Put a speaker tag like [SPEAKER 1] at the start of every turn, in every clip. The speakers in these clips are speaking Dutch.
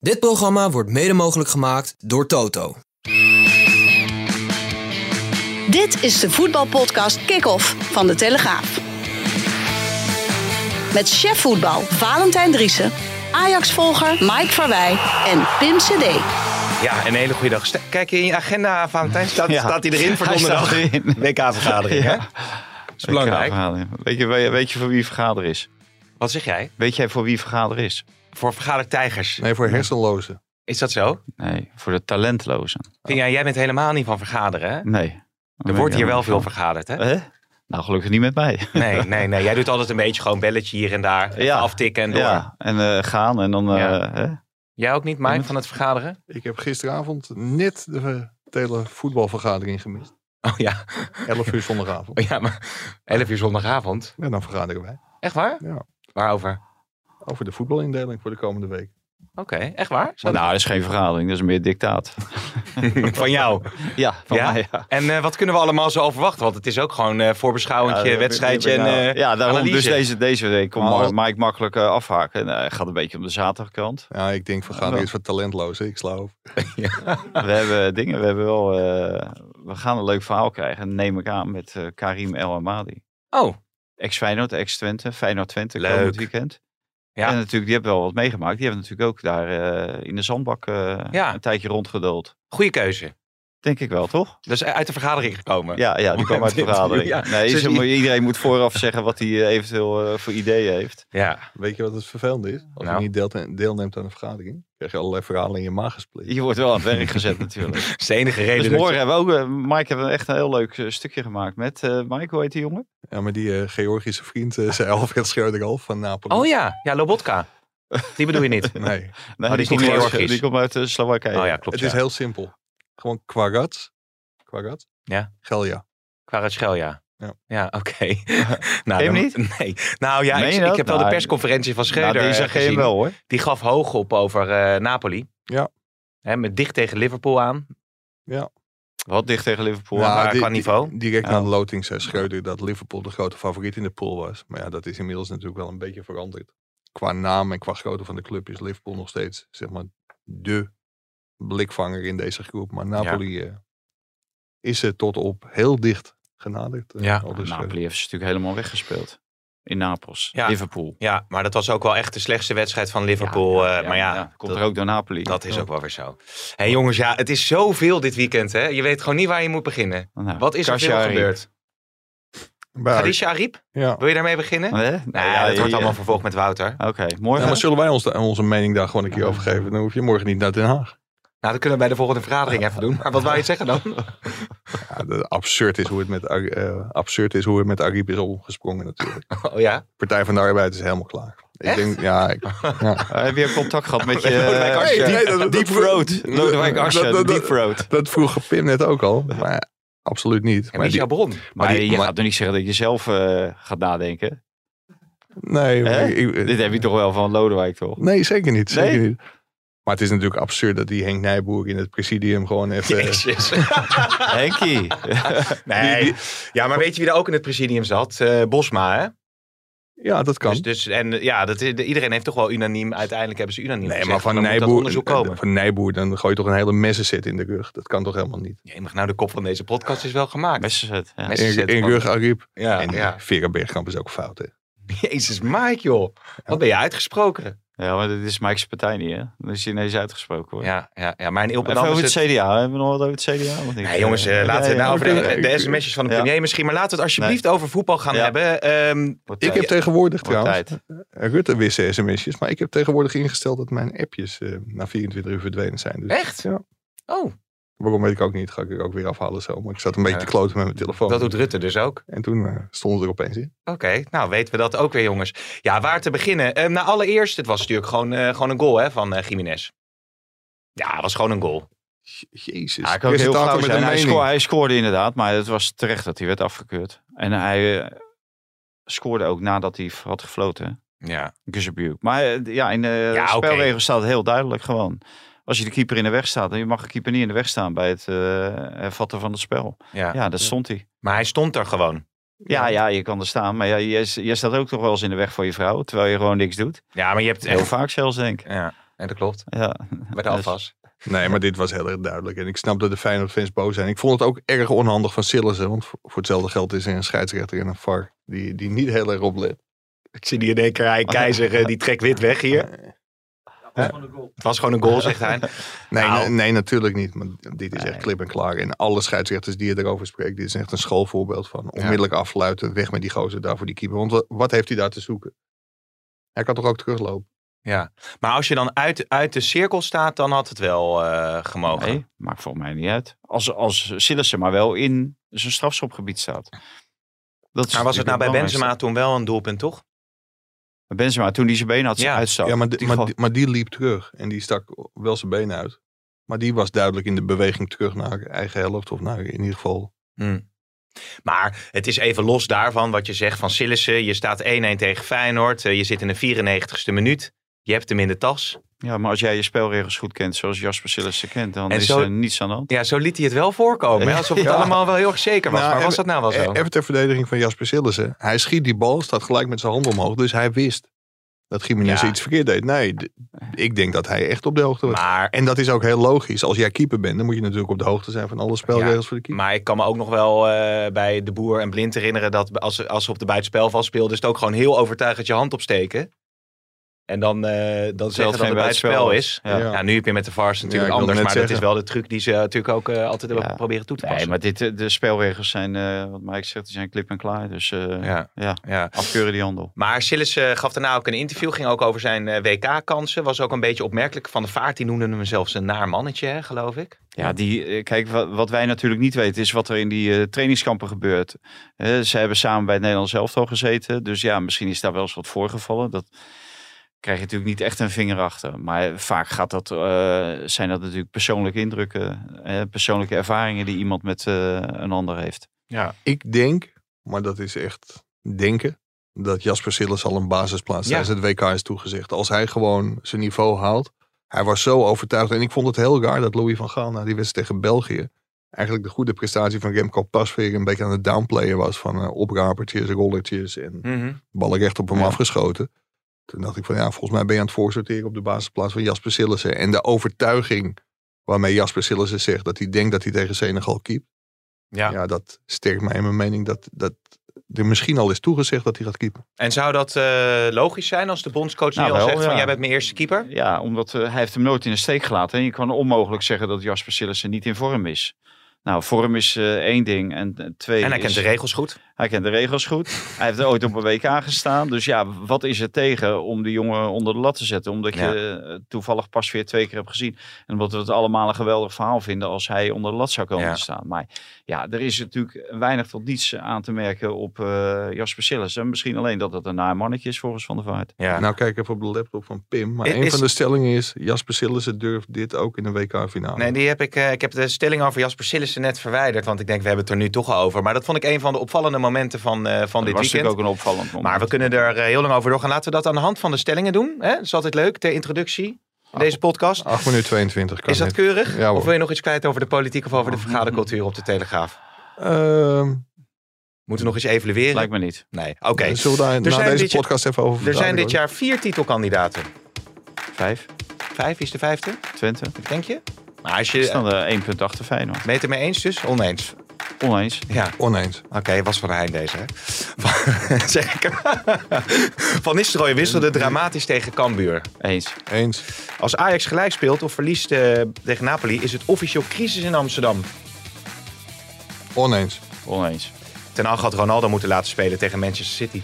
[SPEAKER 1] Dit programma wordt mede mogelijk gemaakt door Toto.
[SPEAKER 2] Dit is de voetbalpodcast Kick-Off van De Telegraaf. Met chef voetbal Valentijn Driessen, Ajax-volger Mike Verwij en Pim CD.
[SPEAKER 3] Ja, een hele goede dag. Sta- Kijk je in je agenda, Valentijn? Staat,
[SPEAKER 4] Ja.
[SPEAKER 3] staat hij erin voor
[SPEAKER 4] Hij
[SPEAKER 3] donderdag?
[SPEAKER 4] staat erin.
[SPEAKER 3] WK-vergadering, hè?
[SPEAKER 4] Ja.
[SPEAKER 3] is belangrijk.
[SPEAKER 4] Vergadering. Weet je, weet, weet je voor wie vergader is?
[SPEAKER 3] Wat zeg jij?
[SPEAKER 4] Weet jij voor wie vergader is?
[SPEAKER 3] Voor vergadertijgers.
[SPEAKER 5] Nee, voor hersenlozen.
[SPEAKER 3] Is dat zo?
[SPEAKER 4] Nee, voor de talentlozen.
[SPEAKER 3] Vind jij, jij bent helemaal niet van vergaderen, hè?
[SPEAKER 4] Nee.
[SPEAKER 3] Er wordt hier wel veel vergaderd, hè?
[SPEAKER 4] Hè? Nou, gelukkig niet met mij.
[SPEAKER 3] Nee, nee, nee. Jij doet altijd een beetje gewoon belletje hier en daar. Even
[SPEAKER 4] Ja.
[SPEAKER 3] Aftikken en door.
[SPEAKER 4] Ja, en eh, gaan en dan... eh,
[SPEAKER 3] Ja.
[SPEAKER 4] hè?
[SPEAKER 3] Jij ook niet, Mike, van het vergaderen?
[SPEAKER 5] Ik heb gisteravond net de eh, hele voetbalvergadering gemist.
[SPEAKER 3] Oh ja.
[SPEAKER 5] 11 uur zondagavond.
[SPEAKER 3] Oh, ja, maar 11 uur zondagavond.
[SPEAKER 5] En dan vergaderen wij
[SPEAKER 3] Echt waar?
[SPEAKER 5] Ja.
[SPEAKER 3] Waarover?
[SPEAKER 5] over de voetbalindeling voor de komende week.
[SPEAKER 3] Oké, echt waar? Zo-
[SPEAKER 4] Nou, dat is geen vergadering, dat is meer dictaat.
[SPEAKER 3] Van jou.
[SPEAKER 4] Ja, Nou, van
[SPEAKER 3] Ja?
[SPEAKER 4] mij, ja.
[SPEAKER 3] En eh, wat kunnen we allemaal zo verwachten? Want het is ook gewoon eh voorbeschouwendje,
[SPEAKER 4] Ja,
[SPEAKER 3] wedstrijdje en eh,
[SPEAKER 4] ja, daarom dus
[SPEAKER 3] analyse.
[SPEAKER 4] deze, deze week kon
[SPEAKER 5] Maar-
[SPEAKER 4] Mike makkelijk eh, afhaken. Nou, hij gaat een beetje om de zaterdagkant.
[SPEAKER 5] Ja, ik denk vergadering is voor talentlozen. Ik sla over.
[SPEAKER 4] We hebben dingen, we hebben wel... eh, we gaan een leuk verhaal krijgen, neem ik aan, met eh, Karim El Amadi.
[SPEAKER 3] Oh,
[SPEAKER 4] ex-Feyenoord, ex-Twente, Feyenoord-Twente
[SPEAKER 3] Leuk.
[SPEAKER 4] komend weekend.
[SPEAKER 3] Ja.
[SPEAKER 4] En natuurlijk, die hebben wel wat meegemaakt. Die hebben natuurlijk ook daar eh, in de zandbak eh,
[SPEAKER 3] Ja.
[SPEAKER 4] een tijdje rondgeduld.
[SPEAKER 3] goede keuze.
[SPEAKER 4] Denk ik wel, toch?
[SPEAKER 3] Dat is uit de vergadering gekomen.
[SPEAKER 4] Ja, ja die kwam uit de vergadering.
[SPEAKER 3] Ja.
[SPEAKER 4] Nee,
[SPEAKER 3] Ze
[SPEAKER 4] ze-
[SPEAKER 3] die-
[SPEAKER 4] iedereen moet vooraf zeggen wat hij eh, eventueel eh, voor ideeën heeft.
[SPEAKER 3] Ja.
[SPEAKER 5] Weet je wat het vervelende is? Als
[SPEAKER 3] Nou.
[SPEAKER 5] je niet deelt- deelneemt aan een vergadering, krijg je allerlei verhalen in je maag gesplit.
[SPEAKER 4] Je wordt wel aan het werk gezet natuurlijk.
[SPEAKER 3] Dat is de enige reden.
[SPEAKER 4] Dus
[SPEAKER 3] dat
[SPEAKER 4] morgen hebben we ook, eh, Mike hebben we echt een heel leuk eh, stukje gemaakt met, eh Mike, hoe heet die jongen?
[SPEAKER 5] Ja, maar die eh, Georgische vriend eh, zei Alfred Schreuder al van
[SPEAKER 3] je-
[SPEAKER 5] Napoli.
[SPEAKER 3] Oh ja, ja, Lobotka. Die bedoel je niet.
[SPEAKER 5] Nee,
[SPEAKER 4] Nee,
[SPEAKER 3] Oh, die is niet
[SPEAKER 4] uit-
[SPEAKER 3] Georgisch.
[SPEAKER 4] die komt uit eh, Slowakije.
[SPEAKER 3] Oh ja, klopt.
[SPEAKER 5] het
[SPEAKER 3] Ja.
[SPEAKER 5] is heel simpel. Gewoon Quarat. Quarat?
[SPEAKER 3] Ja.
[SPEAKER 5] Gelja.
[SPEAKER 3] Kvaratskhelia. ja.
[SPEAKER 5] Ja.
[SPEAKER 3] oké. nou, dan-
[SPEAKER 4] hem niet?
[SPEAKER 3] Nee. Nou ja,
[SPEAKER 4] Meen
[SPEAKER 3] ik,
[SPEAKER 4] je
[SPEAKER 3] ik
[SPEAKER 4] dat?
[SPEAKER 3] heb wel de
[SPEAKER 4] Nou,
[SPEAKER 3] persconferentie van Schreuder
[SPEAKER 4] Nou, die
[SPEAKER 3] eh,
[SPEAKER 4] zag je
[SPEAKER 3] gezien.
[SPEAKER 4] hem wel hoor.
[SPEAKER 3] Die gaf hoog op over eh, Napoli.
[SPEAKER 5] Ja.
[SPEAKER 3] Hè, met dicht tegen Liverpool aan.
[SPEAKER 4] Wat dicht tegen Liverpool.
[SPEAKER 3] Nou,
[SPEAKER 4] aan.
[SPEAKER 3] maar
[SPEAKER 5] di-
[SPEAKER 3] qua
[SPEAKER 5] di-
[SPEAKER 3] niveau?
[SPEAKER 5] Direct
[SPEAKER 4] Ja.
[SPEAKER 5] na de loting zei Schreuder dat Liverpool de grote favoriet in de pool was. Maar ja, dat is inmiddels natuurlijk wel een beetje veranderd. Qua naam en qua grootte van de club is Liverpool nog steeds, zeg maar, de blikvanger in deze groep. Maar Napoli eh, is er tot op heel dicht genaderd. eh,
[SPEAKER 3] Ja,
[SPEAKER 5] al dus, eh,
[SPEAKER 4] nou, Napoli heeft ze natuurlijk helemaal weggespeeld. In Napels,
[SPEAKER 3] Ja.
[SPEAKER 4] Liverpool.
[SPEAKER 3] Ja, maar dat was ook wel echt de slechtste wedstrijd van Liverpool. eh, maar ja,
[SPEAKER 4] komt
[SPEAKER 3] dat-
[SPEAKER 4] er ook door Napoli.
[SPEAKER 3] Dat is ook wel weer zo. Hé hey, jongens, ja, het is zoveel dit weekend. Hè? Je weet gewoon niet waar je moet beginnen.
[SPEAKER 4] Nou,
[SPEAKER 3] Wat is er veel
[SPEAKER 4] Kashari.
[SPEAKER 3] gebeurd?
[SPEAKER 5] bij-
[SPEAKER 3] Khadija Ariep,
[SPEAKER 5] ja.
[SPEAKER 3] wil je daarmee beginnen?
[SPEAKER 4] Hè? Nou,
[SPEAKER 3] Nee,
[SPEAKER 4] ja,
[SPEAKER 3] dat wordt
[SPEAKER 4] ja.
[SPEAKER 3] allemaal vervolgd met Wouter.
[SPEAKER 4] Oké,
[SPEAKER 5] Ja,
[SPEAKER 4] morgen.
[SPEAKER 5] maar zullen wij ons da- onze mening daar gewoon een keer over geven? Dan hoef je morgen niet naar Den Haag.
[SPEAKER 3] Nou, dat kunnen we bij de volgende vergadering even doen. Maar wat wou je zeggen dan?
[SPEAKER 5] Ja, de- absurd, is hoe het met, Ar- eh, absurd is hoe het met Ariep is omgesprongen natuurlijk.
[SPEAKER 3] Oh ja.
[SPEAKER 5] Partij van de Arbeid is helemaal klaar. Ik
[SPEAKER 3] Echt?
[SPEAKER 5] denk, ja, ik, ja.
[SPEAKER 4] Eh, heb je contact gehad met je...
[SPEAKER 3] Lodewijk
[SPEAKER 4] eh,
[SPEAKER 3] Asscher.
[SPEAKER 4] Asscher?
[SPEAKER 5] Nee, dat- dat-
[SPEAKER 4] Deep Road.
[SPEAKER 5] dat-
[SPEAKER 4] Lodewijk Asscher,
[SPEAKER 5] dat- dat-
[SPEAKER 4] Deep Road.
[SPEAKER 5] Dat vroeg Pim net ook al. Maar absoluut niet.
[SPEAKER 3] En
[SPEAKER 5] Maar
[SPEAKER 3] wie is jouw
[SPEAKER 5] die-
[SPEAKER 3] bron?
[SPEAKER 4] Maar,
[SPEAKER 5] maar die-
[SPEAKER 4] je
[SPEAKER 5] maar-
[SPEAKER 4] gaat toch niet zeggen dat je zelf eh, gaat nadenken?
[SPEAKER 5] nee, maar
[SPEAKER 4] Hè?
[SPEAKER 5] ik-
[SPEAKER 3] Eh,
[SPEAKER 5] ik-
[SPEAKER 4] Dit heb je toch wel van Lodewijk, toch?
[SPEAKER 5] nee, zeker niet.
[SPEAKER 4] Nee?
[SPEAKER 5] Zeker niet. Maar het is natuurlijk absurd dat die Henk Nijboer in het presidium gewoon even...
[SPEAKER 3] Jezus.
[SPEAKER 4] Henkie.
[SPEAKER 3] Nee. Ja, maar weet je wie er ook in het presidium zat? Eh, Bosma, hè?
[SPEAKER 5] Ja, dat kan.
[SPEAKER 3] Dus, dus, en eh, ja, dat, is- iedereen heeft toch wel unaniem... Uiteindelijk hebben ze unaniem
[SPEAKER 5] nee,
[SPEAKER 3] gezegd,
[SPEAKER 5] maar van
[SPEAKER 3] dan moet dat
[SPEAKER 5] Nijboer, eh,
[SPEAKER 3] onderzoek komen.
[SPEAKER 5] van Nijboer, dan gooi je toch een hele messenset in de rug. Dat kan toch helemaal niet.
[SPEAKER 3] Jemig, nou, de kop van deze podcast is wel gemaakt.
[SPEAKER 4] Messenset, ja.
[SPEAKER 3] Mes-
[SPEAKER 5] In,
[SPEAKER 3] Messenset,
[SPEAKER 5] in
[SPEAKER 3] man.
[SPEAKER 5] rug Ariep.
[SPEAKER 3] Ja,
[SPEAKER 5] en
[SPEAKER 3] ja.
[SPEAKER 5] Vera Bergkamp is ook fout, hè.
[SPEAKER 3] Jezus, Mike, joh. Wat ben je uitgesproken.
[SPEAKER 4] Ja, maar dit is Mike's partij niet, hè? Dat is ineens uitgesproken, hoor.
[SPEAKER 3] Ja, ja, ja. maar in
[SPEAKER 4] Even
[SPEAKER 3] Ilpendam is
[SPEAKER 4] over het
[SPEAKER 3] het...
[SPEAKER 4] CDA. Hebben we nog wat over het CDA? of niet?
[SPEAKER 3] Nee, jongens, eh,
[SPEAKER 4] Ja,
[SPEAKER 3] laten we het
[SPEAKER 4] ja,
[SPEAKER 3] nou over de,
[SPEAKER 4] oké.
[SPEAKER 3] de sms'jes van de
[SPEAKER 4] Ja.
[SPEAKER 3] premier misschien. Maar laten we het alsjeblieft over voetbal gaan
[SPEAKER 4] Ja.
[SPEAKER 3] hebben. Ehm,
[SPEAKER 4] Wordt
[SPEAKER 5] Ik heb
[SPEAKER 4] tijd.
[SPEAKER 5] tegenwoordig
[SPEAKER 4] Wordt
[SPEAKER 5] trouwens...
[SPEAKER 4] tijd.
[SPEAKER 5] Rutte wist sms'jes, maar ik heb tegenwoordig ingesteld dat mijn appjes eh, na 24 uur verdwenen zijn. Dus,
[SPEAKER 3] Echt?
[SPEAKER 5] Ja.
[SPEAKER 3] oh,
[SPEAKER 5] Waarom weet ik ook niet. Ga ik er ook weer afhalen zo. Maar ik zat een beetje
[SPEAKER 3] Ja.
[SPEAKER 5] te kloten met mijn telefoon.
[SPEAKER 3] dat doet Rutte dus ook.
[SPEAKER 5] En toen eh, stond het er opeens in.
[SPEAKER 3] Oké, nou weten we dat ook weer, jongens. Ja, waar te beginnen? Ehm nou, allereerst, het was natuurlijk gewoon, eh, gewoon een goal hè, van eh Jiménez. Ja, het was gewoon een goal.
[SPEAKER 5] Jezus.
[SPEAKER 4] Ja, ik ook heel
[SPEAKER 5] Presentator
[SPEAKER 4] flauw zijn. Hij,
[SPEAKER 5] mening.
[SPEAKER 4] sco- hij scoorde inderdaad, maar het was terecht dat hij werd afgekeurd. En hij eh, scoorde ook nadat hij had gefloten.
[SPEAKER 3] Ja,
[SPEAKER 4] Gusebuk. Maar eh, ja, in de
[SPEAKER 3] Ja, oké.
[SPEAKER 4] spelregels staat het heel duidelijk gewoon. Als je de keeper in de weg staat, dan mag de keeper niet in de weg staan bij het eh, hervatten van het spel.
[SPEAKER 3] ja.
[SPEAKER 4] Ja, dat stond hij.
[SPEAKER 3] Maar hij stond er gewoon.
[SPEAKER 4] Ja, ja, je kan er staan, maar ja, je, je staat ook toch wel eens in de weg voor je vrouw, terwijl je gewoon niks doet.
[SPEAKER 3] Ja, maar je hebt
[SPEAKER 4] Heel
[SPEAKER 3] echt...
[SPEAKER 4] vaak zelfs, denk ik.
[SPEAKER 3] Ja. Nee, dat klopt.
[SPEAKER 4] Ja.
[SPEAKER 3] Bij de
[SPEAKER 4] Dus-
[SPEAKER 3] afwas.
[SPEAKER 5] Nee, maar dit was heel erg duidelijk. En ik snap dat de Feyenoord-fans boos zijn. Ik vond het ook erg onhandig van Sillissen. Want voor voor hetzelfde geld is er een scheidsrechter en een VAR die, die niet heel erg oplet.
[SPEAKER 3] Ik zie die in één keer Keizer, eh, die trekt wit weg hier. Het was gewoon een goal, zegt hij.
[SPEAKER 5] Nee,
[SPEAKER 3] Nou.
[SPEAKER 5] nee, nee, natuurlijk niet. Maar dit is echt
[SPEAKER 4] Nee.
[SPEAKER 5] klip en klaar. En alle scheidsrechters die je erover spreekt, dit is echt een schoolvoorbeeld van onmiddellijk afluiten. Weg met die gozer daar voor die keeper. Want wa- wat heeft hij daar te zoeken? Hij kan toch ook teruglopen?
[SPEAKER 3] Ja. Maar als je dan uit, uit de cirkel staat, dan had het wel eh, gemogen.
[SPEAKER 4] Nee, maakt volgens mij niet uit. Als, als Sillissen maar wel in zijn strafschopgebied staat. Dat is
[SPEAKER 3] Maar was het nou bij
[SPEAKER 4] belangrijkste.
[SPEAKER 3] Benzema toen wel een doelpunt, toch?
[SPEAKER 4] Bij Benzema, toen hij zijn been had,
[SPEAKER 3] Ja.
[SPEAKER 4] ja. uitstak.
[SPEAKER 5] ja, maar, die-
[SPEAKER 4] Die
[SPEAKER 5] maar,
[SPEAKER 4] gewoon-
[SPEAKER 5] die- maar die liep terug. En die stak wel zijn been uit. Maar die was duidelijk in de beweging terug naar eigen helft. Of naar in ieder geval
[SPEAKER 3] Maar het is even los daarvan wat je zegt van Sillissen. Je staat 1-1 tegen Feyenoord. eh, Je zit in de 94ste minuut. Je hebt hem in de tas.
[SPEAKER 4] ja, maar als jij je spelregels goed kent, zoals Jasper Sillissen kent, dan
[SPEAKER 3] En
[SPEAKER 4] is
[SPEAKER 3] zo-
[SPEAKER 4] er niets aan de hand.
[SPEAKER 3] Ja, zo liet hij het wel voorkomen. hè, Alsof het
[SPEAKER 4] Ja.
[SPEAKER 3] allemaal wel heel erg zeker was.
[SPEAKER 5] Nou,
[SPEAKER 3] maar
[SPEAKER 5] en-
[SPEAKER 3] was dat nou wel zo?
[SPEAKER 5] Eh, Even ter verdediging van Jasper Sillissen. Hij schiet die bal, staat gelijk met zijn hand omhoog. Dus hij wist dat Gimenez
[SPEAKER 4] Ja.
[SPEAKER 5] iets verkeerd deed. Nee, d- ik denk dat hij echt op de hoogte was.
[SPEAKER 3] Maar,
[SPEAKER 5] en dat is ook heel logisch. Als jij keeper bent, dan moet je natuurlijk op de hoogte zijn van alle spelregels voor de keeper.
[SPEAKER 3] maar ik kan me ook nog wel eh, bij de boer en blind herinneren dat als, als ze op de buitenspel vast speelden, is het ook gewoon heel overtuigend je hand opsteken. En dan, eh dan zeggen dat
[SPEAKER 4] geen
[SPEAKER 3] het buitenspel
[SPEAKER 4] buitenspel
[SPEAKER 3] is.
[SPEAKER 4] Ja.
[SPEAKER 5] Ja.
[SPEAKER 3] Ja, nu heb je met de VARs natuurlijk
[SPEAKER 5] Ja, ik wilde
[SPEAKER 3] anders.
[SPEAKER 5] net
[SPEAKER 3] Maar dat is
[SPEAKER 5] zeggen.
[SPEAKER 3] wel de truc die ze natuurlijk ook eh, altijd
[SPEAKER 4] Ja.
[SPEAKER 3] hebben proberen toe te
[SPEAKER 4] Nee,
[SPEAKER 3] passen.
[SPEAKER 4] maar dit, eh, de spelregels zijn, eh, wat Mike zegt, die zijn klip en klaar. Dus eh, ja.
[SPEAKER 3] ja, ja.
[SPEAKER 4] afkeuren die handel.
[SPEAKER 3] Maar Sillis eh, gaf daarna ook een interview. Ging ook over zijn WK-kansen. Was ook een beetje opmerkelijk. Van de Vaart die noemde hem zelfs een naar mannetje, hè, geloof ik.
[SPEAKER 4] Ja, die, eh, kijk, wat, wat wij natuurlijk niet weten is wat er in die eh, trainingskampen gebeurt. Eh, ze hebben samen bij het Nederlands elftal gezeten. Dus ja, misschien is daar wel eens wat voorgevallen. Dat krijg je natuurlijk niet echt een vinger achter. Maar vaak gaat dat, eh, zijn dat natuurlijk persoonlijke indrukken. eh, persoonlijke ervaringen die iemand met eh, een ander heeft.
[SPEAKER 3] Ja.
[SPEAKER 5] Ik denk, maar dat is echt denken, dat Jasper Sillissen al een basisplaats
[SPEAKER 3] Ja.
[SPEAKER 5] tijdens het WK is toegezegd. Als hij gewoon zijn niveau haalt. Hij was zo overtuigd. En ik vond het heel raar dat Louis van Gaal na die wedstrijd tegen België... eigenlijk de goede prestatie van Remco Pasveer een beetje aan het downplayen was. Van eh, oprapertjes, rollertjes en
[SPEAKER 3] Mhm.
[SPEAKER 5] ballen recht op hem
[SPEAKER 4] Ja.
[SPEAKER 5] afgeschoten. Toen dacht ik van ja, volgens mij ben je aan het voorsorteren op de basisplaats van Jasper Sillissen. En de overtuiging waarmee Jasper Sillissen zegt dat hij denkt dat hij tegen Senegal keept.
[SPEAKER 3] Ja.
[SPEAKER 5] Ja, dat sterkt mij in mijn mening dat, dat er misschien al is toegezegd dat hij gaat keepen.
[SPEAKER 3] En zou dat eh, logisch zijn als de bondscoach
[SPEAKER 4] Nou,
[SPEAKER 3] nu al
[SPEAKER 4] wel,
[SPEAKER 3] zegt van
[SPEAKER 4] ja.
[SPEAKER 3] jij bent mijn eerste keeper?
[SPEAKER 4] Ja, omdat eh, hij heeft hem nooit in de steek gelaten. En je kan onmogelijk zeggen dat Jasper Sillissen niet in vorm is. Nou, vorm is eh, één ding. En eh, twee
[SPEAKER 3] En hij kent
[SPEAKER 4] is-
[SPEAKER 3] de regels goed.
[SPEAKER 4] Hij kent de regels goed. Hij heeft er ooit op een WK gestaan. Dus ja, wat is er tegen om die jongen onder de lat te zetten? Omdat
[SPEAKER 3] Ja.
[SPEAKER 4] je eh, toevallig pas weer twee keer hebt gezien. En omdat we het allemaal een geweldig verhaal vinden als hij onder de lat zou komen
[SPEAKER 3] Ja.
[SPEAKER 4] te staan. Maar ja, er is natuurlijk weinig tot niets aan te merken op eh, Jasper Sillissen. Misschien alleen dat het een naar mannetje is volgens Van der Vaart.
[SPEAKER 3] Ja.
[SPEAKER 5] Nou kijk even op de laptop van Pim. Maar
[SPEAKER 3] I-
[SPEAKER 5] een
[SPEAKER 3] is-
[SPEAKER 5] van de stellingen is, Jasper Sillissen durft dit ook in de WK-finale.
[SPEAKER 3] Nee, die heb ik, eh, ik heb de stelling over Jasper Sillissen net verwijderd. Want ik denk, we hebben het er nu toch al over. Maar dat vond ik een van de opvallende momenten van, eh, van
[SPEAKER 4] Dat
[SPEAKER 3] dit
[SPEAKER 4] was
[SPEAKER 3] weekend.
[SPEAKER 4] natuurlijk ook een opvallend moment.
[SPEAKER 3] Maar we kunnen er eh, heel lang over doorgaan. Laten we dat aan de hand van de stellingen doen. Hè? Dat is altijd leuk, ter introductie. Deze podcast.
[SPEAKER 5] 8 minuten 22 ah, kan
[SPEAKER 3] Is dat
[SPEAKER 5] het.
[SPEAKER 3] keurig?
[SPEAKER 5] Ja, hoor.
[SPEAKER 3] of wil je nog iets kwijt over de politiek of over de vergadercultuur op de Telegraaf?
[SPEAKER 5] Ehm,
[SPEAKER 3] Moeten we nog eens evalueren?
[SPEAKER 4] Lijkt me niet.
[SPEAKER 3] Nee, oké.
[SPEAKER 5] Eh, Zullen we daar na
[SPEAKER 3] zijn
[SPEAKER 5] deze
[SPEAKER 3] dit jaar-
[SPEAKER 5] podcast even over
[SPEAKER 3] Er zijn
[SPEAKER 5] verduidelijken?
[SPEAKER 3] dit jaar vier titelkandidaten.
[SPEAKER 4] Vijf,
[SPEAKER 3] Vijf is de vijfde,
[SPEAKER 4] Twente.
[SPEAKER 3] denk je? Maar als
[SPEAKER 4] Is
[SPEAKER 3] je...
[SPEAKER 4] dan de 1,8 Feyenoord.
[SPEAKER 3] Meet er mee eens dus? Oneens.
[SPEAKER 4] Oneens.
[SPEAKER 3] Ja,
[SPEAKER 5] Oneens.
[SPEAKER 3] oké, was van Heijn deze, hè? Van, zeg ik. van Nistelrooy wisselde dramatisch tegen Cambuur.
[SPEAKER 4] Eens.
[SPEAKER 5] Eens.
[SPEAKER 3] Als Ajax gelijk speelt of verliest eh, tegen Napoli... is het officieel crisis in Amsterdam.
[SPEAKER 5] Oneens.
[SPEAKER 4] Oneens.
[SPEAKER 3] Ten Hag had Ronaldo moeten laten spelen tegen Manchester City.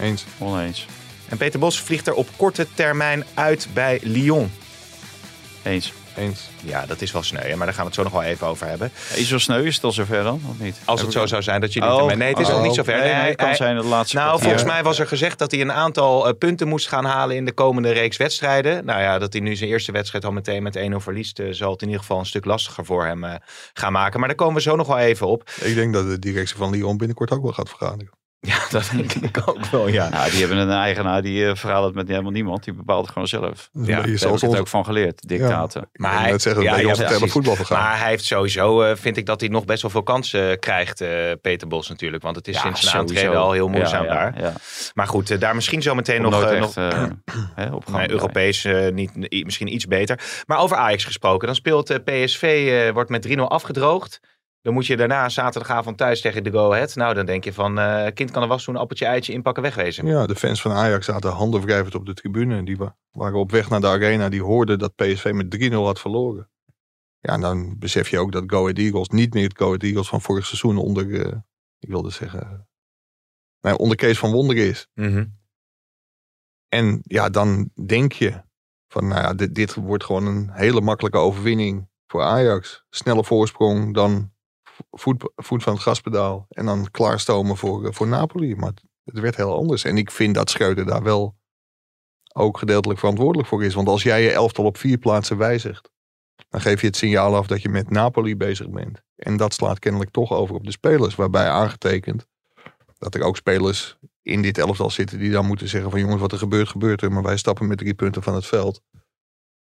[SPEAKER 5] Eens.
[SPEAKER 4] Oneens.
[SPEAKER 3] En Peter Bos vliegt er op korte termijn uit bij Lyon.
[SPEAKER 4] Eens.
[SPEAKER 5] Eens.
[SPEAKER 3] Ja, dat is wel sneu, hè, maar daar gaan we het zo nog wel even over hebben.
[SPEAKER 4] Is wel sneu, is het al zover dan? Of niet?
[SPEAKER 3] Als het zo zou zijn dat jullie
[SPEAKER 4] Oh,
[SPEAKER 3] het ermee... Nee, het is
[SPEAKER 5] oh.
[SPEAKER 3] nog niet zover.
[SPEAKER 4] Nee, nee,
[SPEAKER 3] hij-
[SPEAKER 4] het kan
[SPEAKER 3] hij-
[SPEAKER 4] zijn dat de laatste
[SPEAKER 3] Nou,
[SPEAKER 4] partij-
[SPEAKER 3] volgens
[SPEAKER 5] Ja.
[SPEAKER 3] mij was er gezegd dat hij een aantal eh, punten moest gaan halen in de komende reeks wedstrijden. Nou ja, dat hij nu zijn eerste wedstrijd al meteen met 1-0 verliest, eh, zal het in ieder geval een stuk lastiger voor hem eh, gaan maken. Maar daar komen we zo nog wel even op.
[SPEAKER 5] Ik denk dat de directie van Lyon binnenkort ook wel gaat vergaderen.
[SPEAKER 3] Ja, dat denk ik ook wel, ja.
[SPEAKER 4] Nou, die hebben een eigenaar, die eh, verhaalt het met helemaal niemand. Die bepaalt het gewoon zelf.
[SPEAKER 5] Dus Dat is
[SPEAKER 3] Ja,
[SPEAKER 5] een beetje
[SPEAKER 4] Daar heb
[SPEAKER 5] zoals
[SPEAKER 4] ik het
[SPEAKER 5] onze,
[SPEAKER 4] ook van geleerd, dictaten.
[SPEAKER 5] maar
[SPEAKER 3] hij-
[SPEAKER 5] net zeggen, dat
[SPEAKER 3] ja,
[SPEAKER 5] ja,
[SPEAKER 3] ja,
[SPEAKER 5] onze
[SPEAKER 3] precies.
[SPEAKER 5] termen voetbal vergaan.
[SPEAKER 3] Maar hij heeft sowieso, eh, vind ik, dat hij nog best wel veel kansen krijgt, eh, Peter Bos natuurlijk. Want het is sinds zijn
[SPEAKER 4] sowieso.
[SPEAKER 3] aantreden al heel moeizaam
[SPEAKER 4] Ja, ja,
[SPEAKER 3] daar.
[SPEAKER 4] Ja.
[SPEAKER 3] Maar goed, eh, daar misschien zometeen
[SPEAKER 4] Nog,
[SPEAKER 3] nog...
[SPEAKER 4] nooit
[SPEAKER 3] eh,
[SPEAKER 4] echt
[SPEAKER 3] nog
[SPEAKER 4] eh, hè, op gang.
[SPEAKER 3] Nee, Europees eh, niet, i- misschien iets beter. Maar over Ajax gesproken. Dan speelt eh, PSV, eh, wordt met 3-0 afgedroogd. Dan moet je daarna zaterdagavond thuis tegen de Go Ahead. Nou, dan denk je van, eh, kind kan er was doen, appeltje, eitje, inpakken, wegwezen.
[SPEAKER 5] Ja, de fans van Ajax zaten handen wrijvend op de tribune. Die wa- waren op weg naar de arena. Die hoorden dat PSV met 3-0 had verloren. Ja, en dan besef je ook dat Go Ahead Eagles niet meer het Go Ahead Eagles van vorig seizoen onder, eh, ik wilde zeggen, nou, onder Kees van Wonder is.
[SPEAKER 3] Mhm.
[SPEAKER 5] En ja, dan denk je van, nou ja, dit, dit wordt gewoon een hele makkelijke overwinning voor Ajax. Snelle voorsprong, dan voet, voet van het gaspedaal en dan klaarstomen voor, eh, voor Napoli. Maar het, het werd heel anders. En ik vind dat Schreuder daar wel ook gedeeltelijk verantwoordelijk voor is. Want als jij je elftal op vier plaatsen wijzigt, dan geef je het signaal af dat je met Napoli bezig bent. En dat slaat kennelijk toch over op de spelers, waarbij aangetekend dat er ook spelers in dit elftal zitten die dan moeten zeggen van jongens, wat er gebeurt, gebeurt er. Maar wij stappen met drie punten van het veld.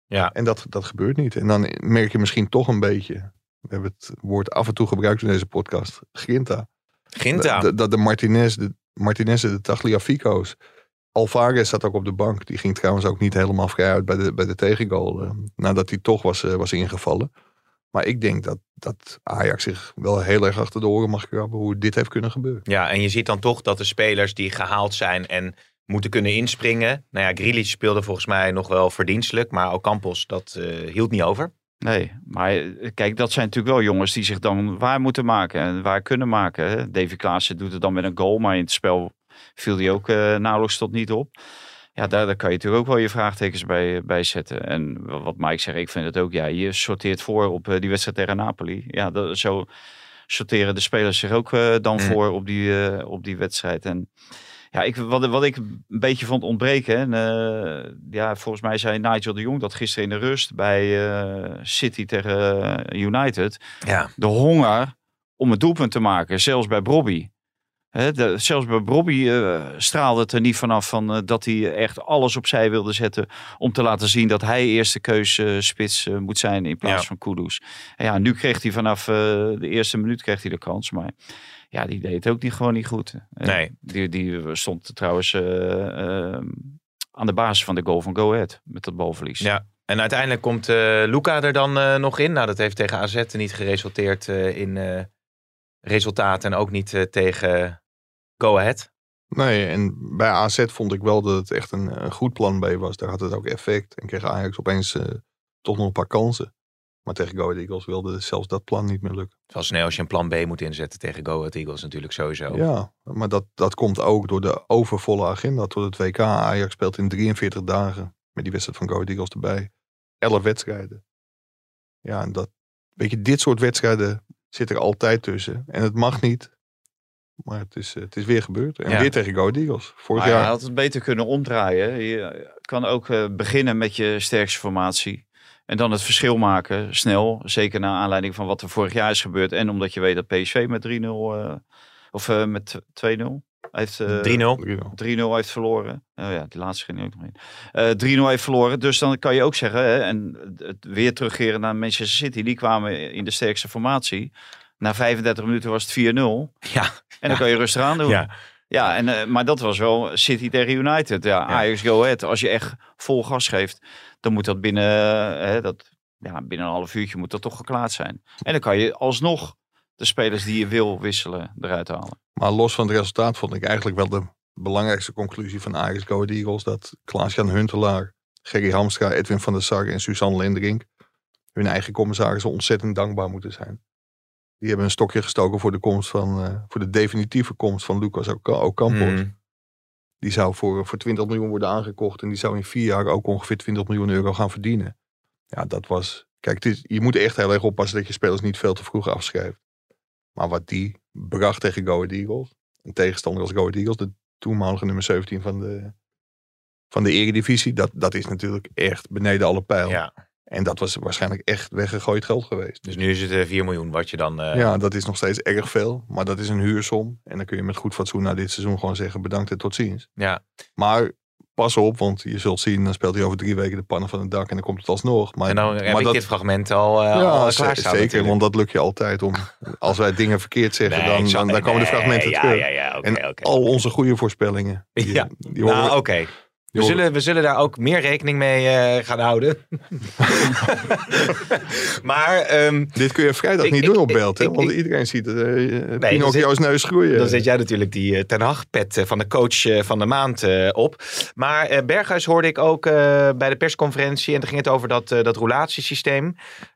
[SPEAKER 3] Ja.
[SPEAKER 5] En dat, dat gebeurt niet. En dan merk je misschien toch een beetje, we hebben het woord af en toe gebruikt in deze podcast, grinta.
[SPEAKER 3] Ginta.
[SPEAKER 5] Dat, dat de Martinez, de Martinez, en de Tagliafico's. Alvarez zat ook op de bank. Die ging trouwens ook niet helemaal vrij uit bij de, bij de tegengoal. eh, nadat hij toch was, eh, was ingevallen. Maar ik denk dat, dat Ajax zich wel heel erg achter de oren mag krabben hoe dit heeft kunnen gebeuren.
[SPEAKER 3] Ja, en je ziet dan toch dat de spelers die gehaald zijn en moeten kunnen inspringen. Nou ja, Grealish speelde volgens mij nog wel verdienstelijk. Maar Ocampos, dat eh, hield niet over.
[SPEAKER 4] Nee, maar eh, kijk, dat zijn natuurlijk wel jongens die zich dan waar moeten maken en waar kunnen maken. Hè? Davy Klaassen doet het dan met een goal, maar in het spel viel hij ook eh, nauwelijks tot niet op. Ja, daar, daar kan je natuurlijk ook wel je vraagtekens bij, eh, bij zetten. En wa- wat Mike zegt, ik vind het ook, ja, je sorteert voor op eh, die wedstrijd tegen Napoli. Ja, dat, zo sorteren de spelers zich ook eh, dan
[SPEAKER 3] Mm.
[SPEAKER 4] voor op die, eh, op die wedstrijd. En ja, ik, wat, wat ik een beetje vond ontbreken. En, eh, ja, volgens mij zei Nigel de Jong dat gisteren in de rust bij eh, City tegen eh, United.
[SPEAKER 3] Ja.
[SPEAKER 4] De honger om het doelpunt te maken, zelfs bij Bobby. Hè, de- zelfs bij Bobby eh, straalde het er niet vanaf van, eh, dat hij echt alles opzij wilde zetten. Om te laten zien dat hij eerste keuze spits eh, moet zijn in plaats
[SPEAKER 3] Ja.
[SPEAKER 4] van Kudus. En ja, nu kreeg hij vanaf eh, de eerste minuut kreeg hij de kans. Maar ja, die deed het ook niet, gewoon niet goed. Eh,
[SPEAKER 3] Nee.
[SPEAKER 4] Die, die stond trouwens eh, eh, aan de basis van de goal van Go Ahead. Met dat balverlies.
[SPEAKER 3] Ja, en uiteindelijk komt eh, Luca er dan eh, nog in. Nou, dat heeft tegen AZ niet geresulteerd eh, in eh resultaat en ook niet eh, tegen Go Ahead.
[SPEAKER 5] Nee, en bij AZ vond ik wel dat het echt een, een goed plan B was. Daar had het ook effect. En kreeg Ajax opeens eh, toch nog een paar kansen. Maar tegen Go Ahead Eagles wilde zelfs dat plan niet meer lukken.
[SPEAKER 3] Het was snel als je een plan B moet inzetten tegen Go Ahead Eagles natuurlijk sowieso.
[SPEAKER 5] Ja, maar dat, dat komt ook door de overvolle agenda tot het WK. Ajax speelt in 43 dagen met die wedstrijd van Go Ahead Eagles erbij. 11 wedstrijden. Ja, en dat, weet je, dit soort wedstrijden zit er altijd tussen. En het mag niet. Maar het is, eh, het is weer gebeurd. En
[SPEAKER 3] Ja.
[SPEAKER 5] weer tegen Go Ahead Eagles. Vorig
[SPEAKER 4] Maar je
[SPEAKER 5] jaar.
[SPEAKER 4] had het beter kunnen omdraaien. Je kan ook eh, beginnen met je sterkste formatie. En dan het verschil maken, snel. Zeker naar aanleiding van wat er vorig jaar is gebeurd. En omdat je weet dat PSV met 3-0... eh, of eh, met 2-0 heeft... eh,
[SPEAKER 3] 3-0.
[SPEAKER 4] 3-0
[SPEAKER 5] 3-0.
[SPEAKER 4] heeft verloren. Oh ja, die laatste ging er ook nog in. Eh 3-0 heeft verloren. Dus dan kan je ook zeggen, hè, en het weer terugkeren naar Manchester City. Die kwamen in de sterkste formatie. Na 35 minuten was het 4-0. En
[SPEAKER 3] Ja.
[SPEAKER 4] dan kan je rustig aan doen.
[SPEAKER 3] Ja.
[SPEAKER 4] Ja, en, eh, maar dat was wel City tegen United. Ja, Ajax Go Ahead. Als je echt vol gas geeft, dan moet dat binnen, eh, hè, dat, ja, binnen een half uurtje moet dat toch geklaard zijn. En dan kan je alsnog de spelers die je wil wisselen eruit halen.
[SPEAKER 5] Maar los van het resultaat vond ik eigenlijk wel de belangrijkste conclusie van Ajax Go Ahead Eagles. Dat Klaas-Jan Huntelaar, Gerry Hamstra, Edwin van der Sar en Suzanne Lindrink hun eigen commissarissen ontzettend dankbaar moeten zijn. Die hebben een stokje gestoken voor de, komst van, eh, voor de definitieve komst van Lucas Oca- Ocampos.
[SPEAKER 3] Mm.
[SPEAKER 5] Die zou voor, voor 20 miljoen worden aangekocht. En die zou in vier jaar ook ongeveer 20 miljoen euro gaan verdienen. Ja, dat was. Kijk, het is, je moet echt heel erg oppassen dat je spelers niet veel te vroeg afschrijft. Maar wat die bracht tegen Go Ahead Eagles. Een tegenstander als Go Ahead Eagles, de toenmalige nummer 17 van de, van de Eredivisie. Dat, dat is natuurlijk echt beneden alle pijl.
[SPEAKER 3] Ja.
[SPEAKER 5] En dat was waarschijnlijk echt weggegooid geld geweest.
[SPEAKER 3] Dus nu is het eh, 4 miljoen wat je dan... eh,
[SPEAKER 5] Ja, dat is nog steeds erg veel, maar dat is een huursom. En dan kun je met goed fatsoen na dit seizoen gewoon zeggen bedankt en tot ziens.
[SPEAKER 3] ja.
[SPEAKER 5] Maar pas op, want je zult zien, dan speelt hij over drie weken de pannen van het dak en dan komt het alsnog. Maar,
[SPEAKER 3] En dan
[SPEAKER 5] maar
[SPEAKER 3] heb ik
[SPEAKER 5] dat-
[SPEAKER 3] dit fragment al, eh
[SPEAKER 5] ja,
[SPEAKER 3] al
[SPEAKER 5] ze-
[SPEAKER 3] klaarstaan
[SPEAKER 5] zeker,
[SPEAKER 3] natuurlijk.
[SPEAKER 5] want dat lukt je altijd om, als wij dingen verkeerd zeggen,
[SPEAKER 3] Nee,
[SPEAKER 5] dan,
[SPEAKER 3] ik
[SPEAKER 5] dan,
[SPEAKER 3] zal-
[SPEAKER 5] dan komen de
[SPEAKER 3] nee,
[SPEAKER 5] fragmenten
[SPEAKER 3] ja,
[SPEAKER 5] terug.
[SPEAKER 3] Ja, ja, oké.
[SPEAKER 5] en
[SPEAKER 3] oké.
[SPEAKER 5] al onze goede voorspellingen. die-
[SPEAKER 3] Ja.
[SPEAKER 5] die horen
[SPEAKER 3] Nou, oké.
[SPEAKER 5] we-
[SPEAKER 3] We
[SPEAKER 5] horen-
[SPEAKER 3] zullen, we zullen daar ook meer rekening mee eh, gaan houden. maar ehm,
[SPEAKER 5] Dit kun je vrijdag
[SPEAKER 3] Ik-
[SPEAKER 5] niet
[SPEAKER 3] ik-
[SPEAKER 5] doen op
[SPEAKER 3] ik-
[SPEAKER 5] beeld, hè?
[SPEAKER 3] ik-
[SPEAKER 5] Want
[SPEAKER 3] ik-
[SPEAKER 5] iedereen ziet eh, eh,
[SPEAKER 3] dan
[SPEAKER 5] Pinocchio's neus groeien.
[SPEAKER 3] dan zet jij natuurlijk die eh, Ten Hag-pet eh, van de coach eh, van de maand eh, op. Maar eh, Berghuis hoorde ik ook eh, bij de persconferentie. En toen ging het over dat, eh dat roulatiesysteem.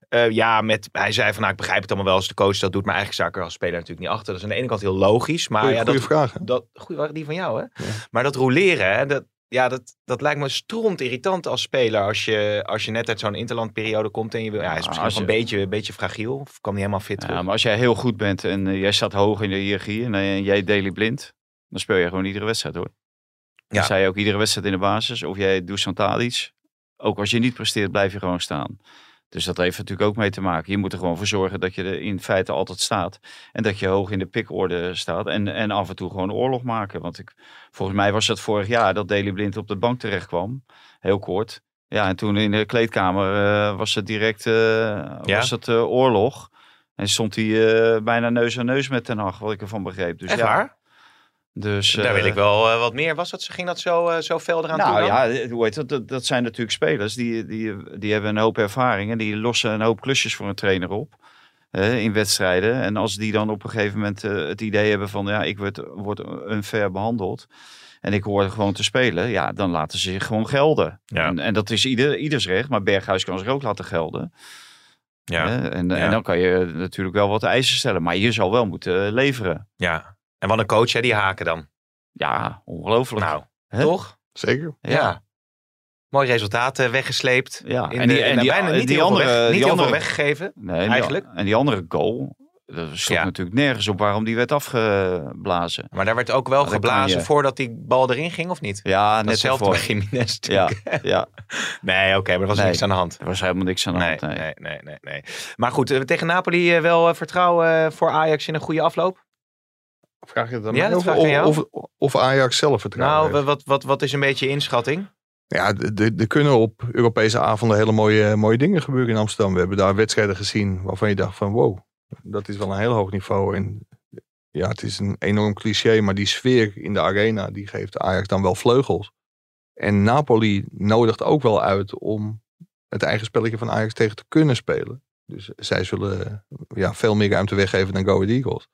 [SPEAKER 3] Eh, ja, met, hij zei van nou, ik begrijp het allemaal wel als de coach dat doet. Maar eigenlijk sta ik er als speler natuurlijk niet achter. Dat is aan de ene kant heel logisch. Maar
[SPEAKER 5] Goeie,
[SPEAKER 3] Ah, ja,
[SPEAKER 5] goeie
[SPEAKER 3] dat,
[SPEAKER 5] vraag, hè?
[SPEAKER 3] dat goeie waren die van jou, hè? Maar dat roleren, hè, dat, ja, dat, dat lijkt me stront irritant als speler. Als je, als je net uit zo'n interlandperiode komt en je wil. Ja, hij is
[SPEAKER 4] Ja,
[SPEAKER 3] misschien
[SPEAKER 4] als
[SPEAKER 3] nog een, beetje, een beetje fragiel. Of kan niet helemaal fit.
[SPEAKER 4] Ja,
[SPEAKER 3] terug.
[SPEAKER 4] maar als jij heel goed bent en eh, jij staat hoog in de hiërarchie en eh, jij Daily blind, dan speel je gewoon iedere wedstrijd hoor. Dan
[SPEAKER 3] Ja.
[SPEAKER 4] sta je ook iedere wedstrijd in de basis. Of jij Dusan Tadic. Ook als je niet presteert, blijf je gewoon staan. Dus dat heeft natuurlijk ook mee te maken. Je moet er gewoon voor zorgen dat je er in feite altijd staat. En dat je hoog in de pikorde staat. En, en af en toe gewoon oorlog maken. Want ik, volgens mij was dat vorig jaar dat Daily Blind op de bank terecht kwam. Heel kort. Ja, en toen in de kleedkamer eh, was het direct eh, was het, eh, oorlog. En stond hij eh, bijna neus aan neus met Ten Hag, wat ik ervan begreep. Dus
[SPEAKER 3] Echt
[SPEAKER 4] ja,
[SPEAKER 3] waar?
[SPEAKER 4] Dus,
[SPEAKER 3] Daar
[SPEAKER 4] eh,
[SPEAKER 3] wil ik wel eh, wat meer. Was dat, ging dat zo, eh, zo fel eraan toe
[SPEAKER 4] nou
[SPEAKER 3] dan?
[SPEAKER 4] ja, eh, hoe heet dat? dat? Dat zijn natuurlijk spelers die, die, die hebben een hoop ervaring en die lossen een hoop klusjes voor een trainer op. eh, in wedstrijden. En als die dan op een gegeven moment eh, het idee hebben van ja, ik word, word unfair behandeld. En ik hoor gewoon te spelen. Ja, dan laten ze zich gewoon gelden.
[SPEAKER 3] Ja.
[SPEAKER 4] En, en dat is ieder, ieders recht. Maar Berghuis kan zich ook laten gelden.
[SPEAKER 3] ja,
[SPEAKER 4] hè. En,
[SPEAKER 3] Ja.
[SPEAKER 4] en dan kan je natuurlijk wel wat eisen stellen. Maar je zal wel moeten leveren.
[SPEAKER 3] ja. En wat een coach, hè, die haken dan.
[SPEAKER 4] Ja, ongelooflijk.
[SPEAKER 3] Nou,
[SPEAKER 4] Hè?
[SPEAKER 3] toch?
[SPEAKER 5] Zeker.
[SPEAKER 3] Ja. Mooi resultaat eh, weggesleept.
[SPEAKER 4] Ja,
[SPEAKER 3] In en die, en die, bijna niet heel veel weg- niet
[SPEAKER 4] die
[SPEAKER 3] heel
[SPEAKER 4] andere-
[SPEAKER 3] veel weggegeven.
[SPEAKER 4] Nee, en die-
[SPEAKER 3] Eigenlijk.
[SPEAKER 4] en die andere goal, dat stond
[SPEAKER 3] Ja.
[SPEAKER 4] natuurlijk nergens op waarom die werd afgeblazen.
[SPEAKER 3] Maar daar werd ook wel
[SPEAKER 4] dat kan
[SPEAKER 3] geblazen
[SPEAKER 4] je.
[SPEAKER 3] voordat die bal erin ging, of niet?
[SPEAKER 4] Ja, net
[SPEAKER 3] Hetzelfde
[SPEAKER 4] ervoor.
[SPEAKER 3] bij Jiménez.
[SPEAKER 4] Ja, ja,
[SPEAKER 3] Nee, oké, maar er was
[SPEAKER 4] Nee.
[SPEAKER 3] niks aan de hand.
[SPEAKER 4] er was helemaal niks aan de
[SPEAKER 3] Nee,
[SPEAKER 4] hand. nee.
[SPEAKER 3] nee, nee, nee, nee. Maar goed, eh, tegen Napoli eh, wel eh, vertrouwen eh, voor Ajax in een goede afloop?
[SPEAKER 5] Vraag je dat dan
[SPEAKER 3] Ja,
[SPEAKER 5] mij
[SPEAKER 3] dat
[SPEAKER 5] of-
[SPEAKER 3] vraag ik aan jou.
[SPEAKER 5] of, of, of Ajax zelf vertrouwen
[SPEAKER 3] Nou,
[SPEAKER 5] heeft?
[SPEAKER 3] wat, wat, wat is een beetje je inschatting?
[SPEAKER 5] Ja, d- d- er kunnen op Europese avonden hele mooie, mooie dingen gebeuren in Amsterdam. We hebben daar wedstrijden gezien waarvan je dacht van wow, dat is wel een heel hoog niveau. En ja, het is een enorm cliché, maar die sfeer in de arena, die geeft Ajax dan wel vleugels. En Napoli nodigt ook wel uit om het eigen spelletje van Ajax tegen te kunnen spelen. Dus zij zullen ja, veel meer ruimte weggeven dan Go Ahead Eagles.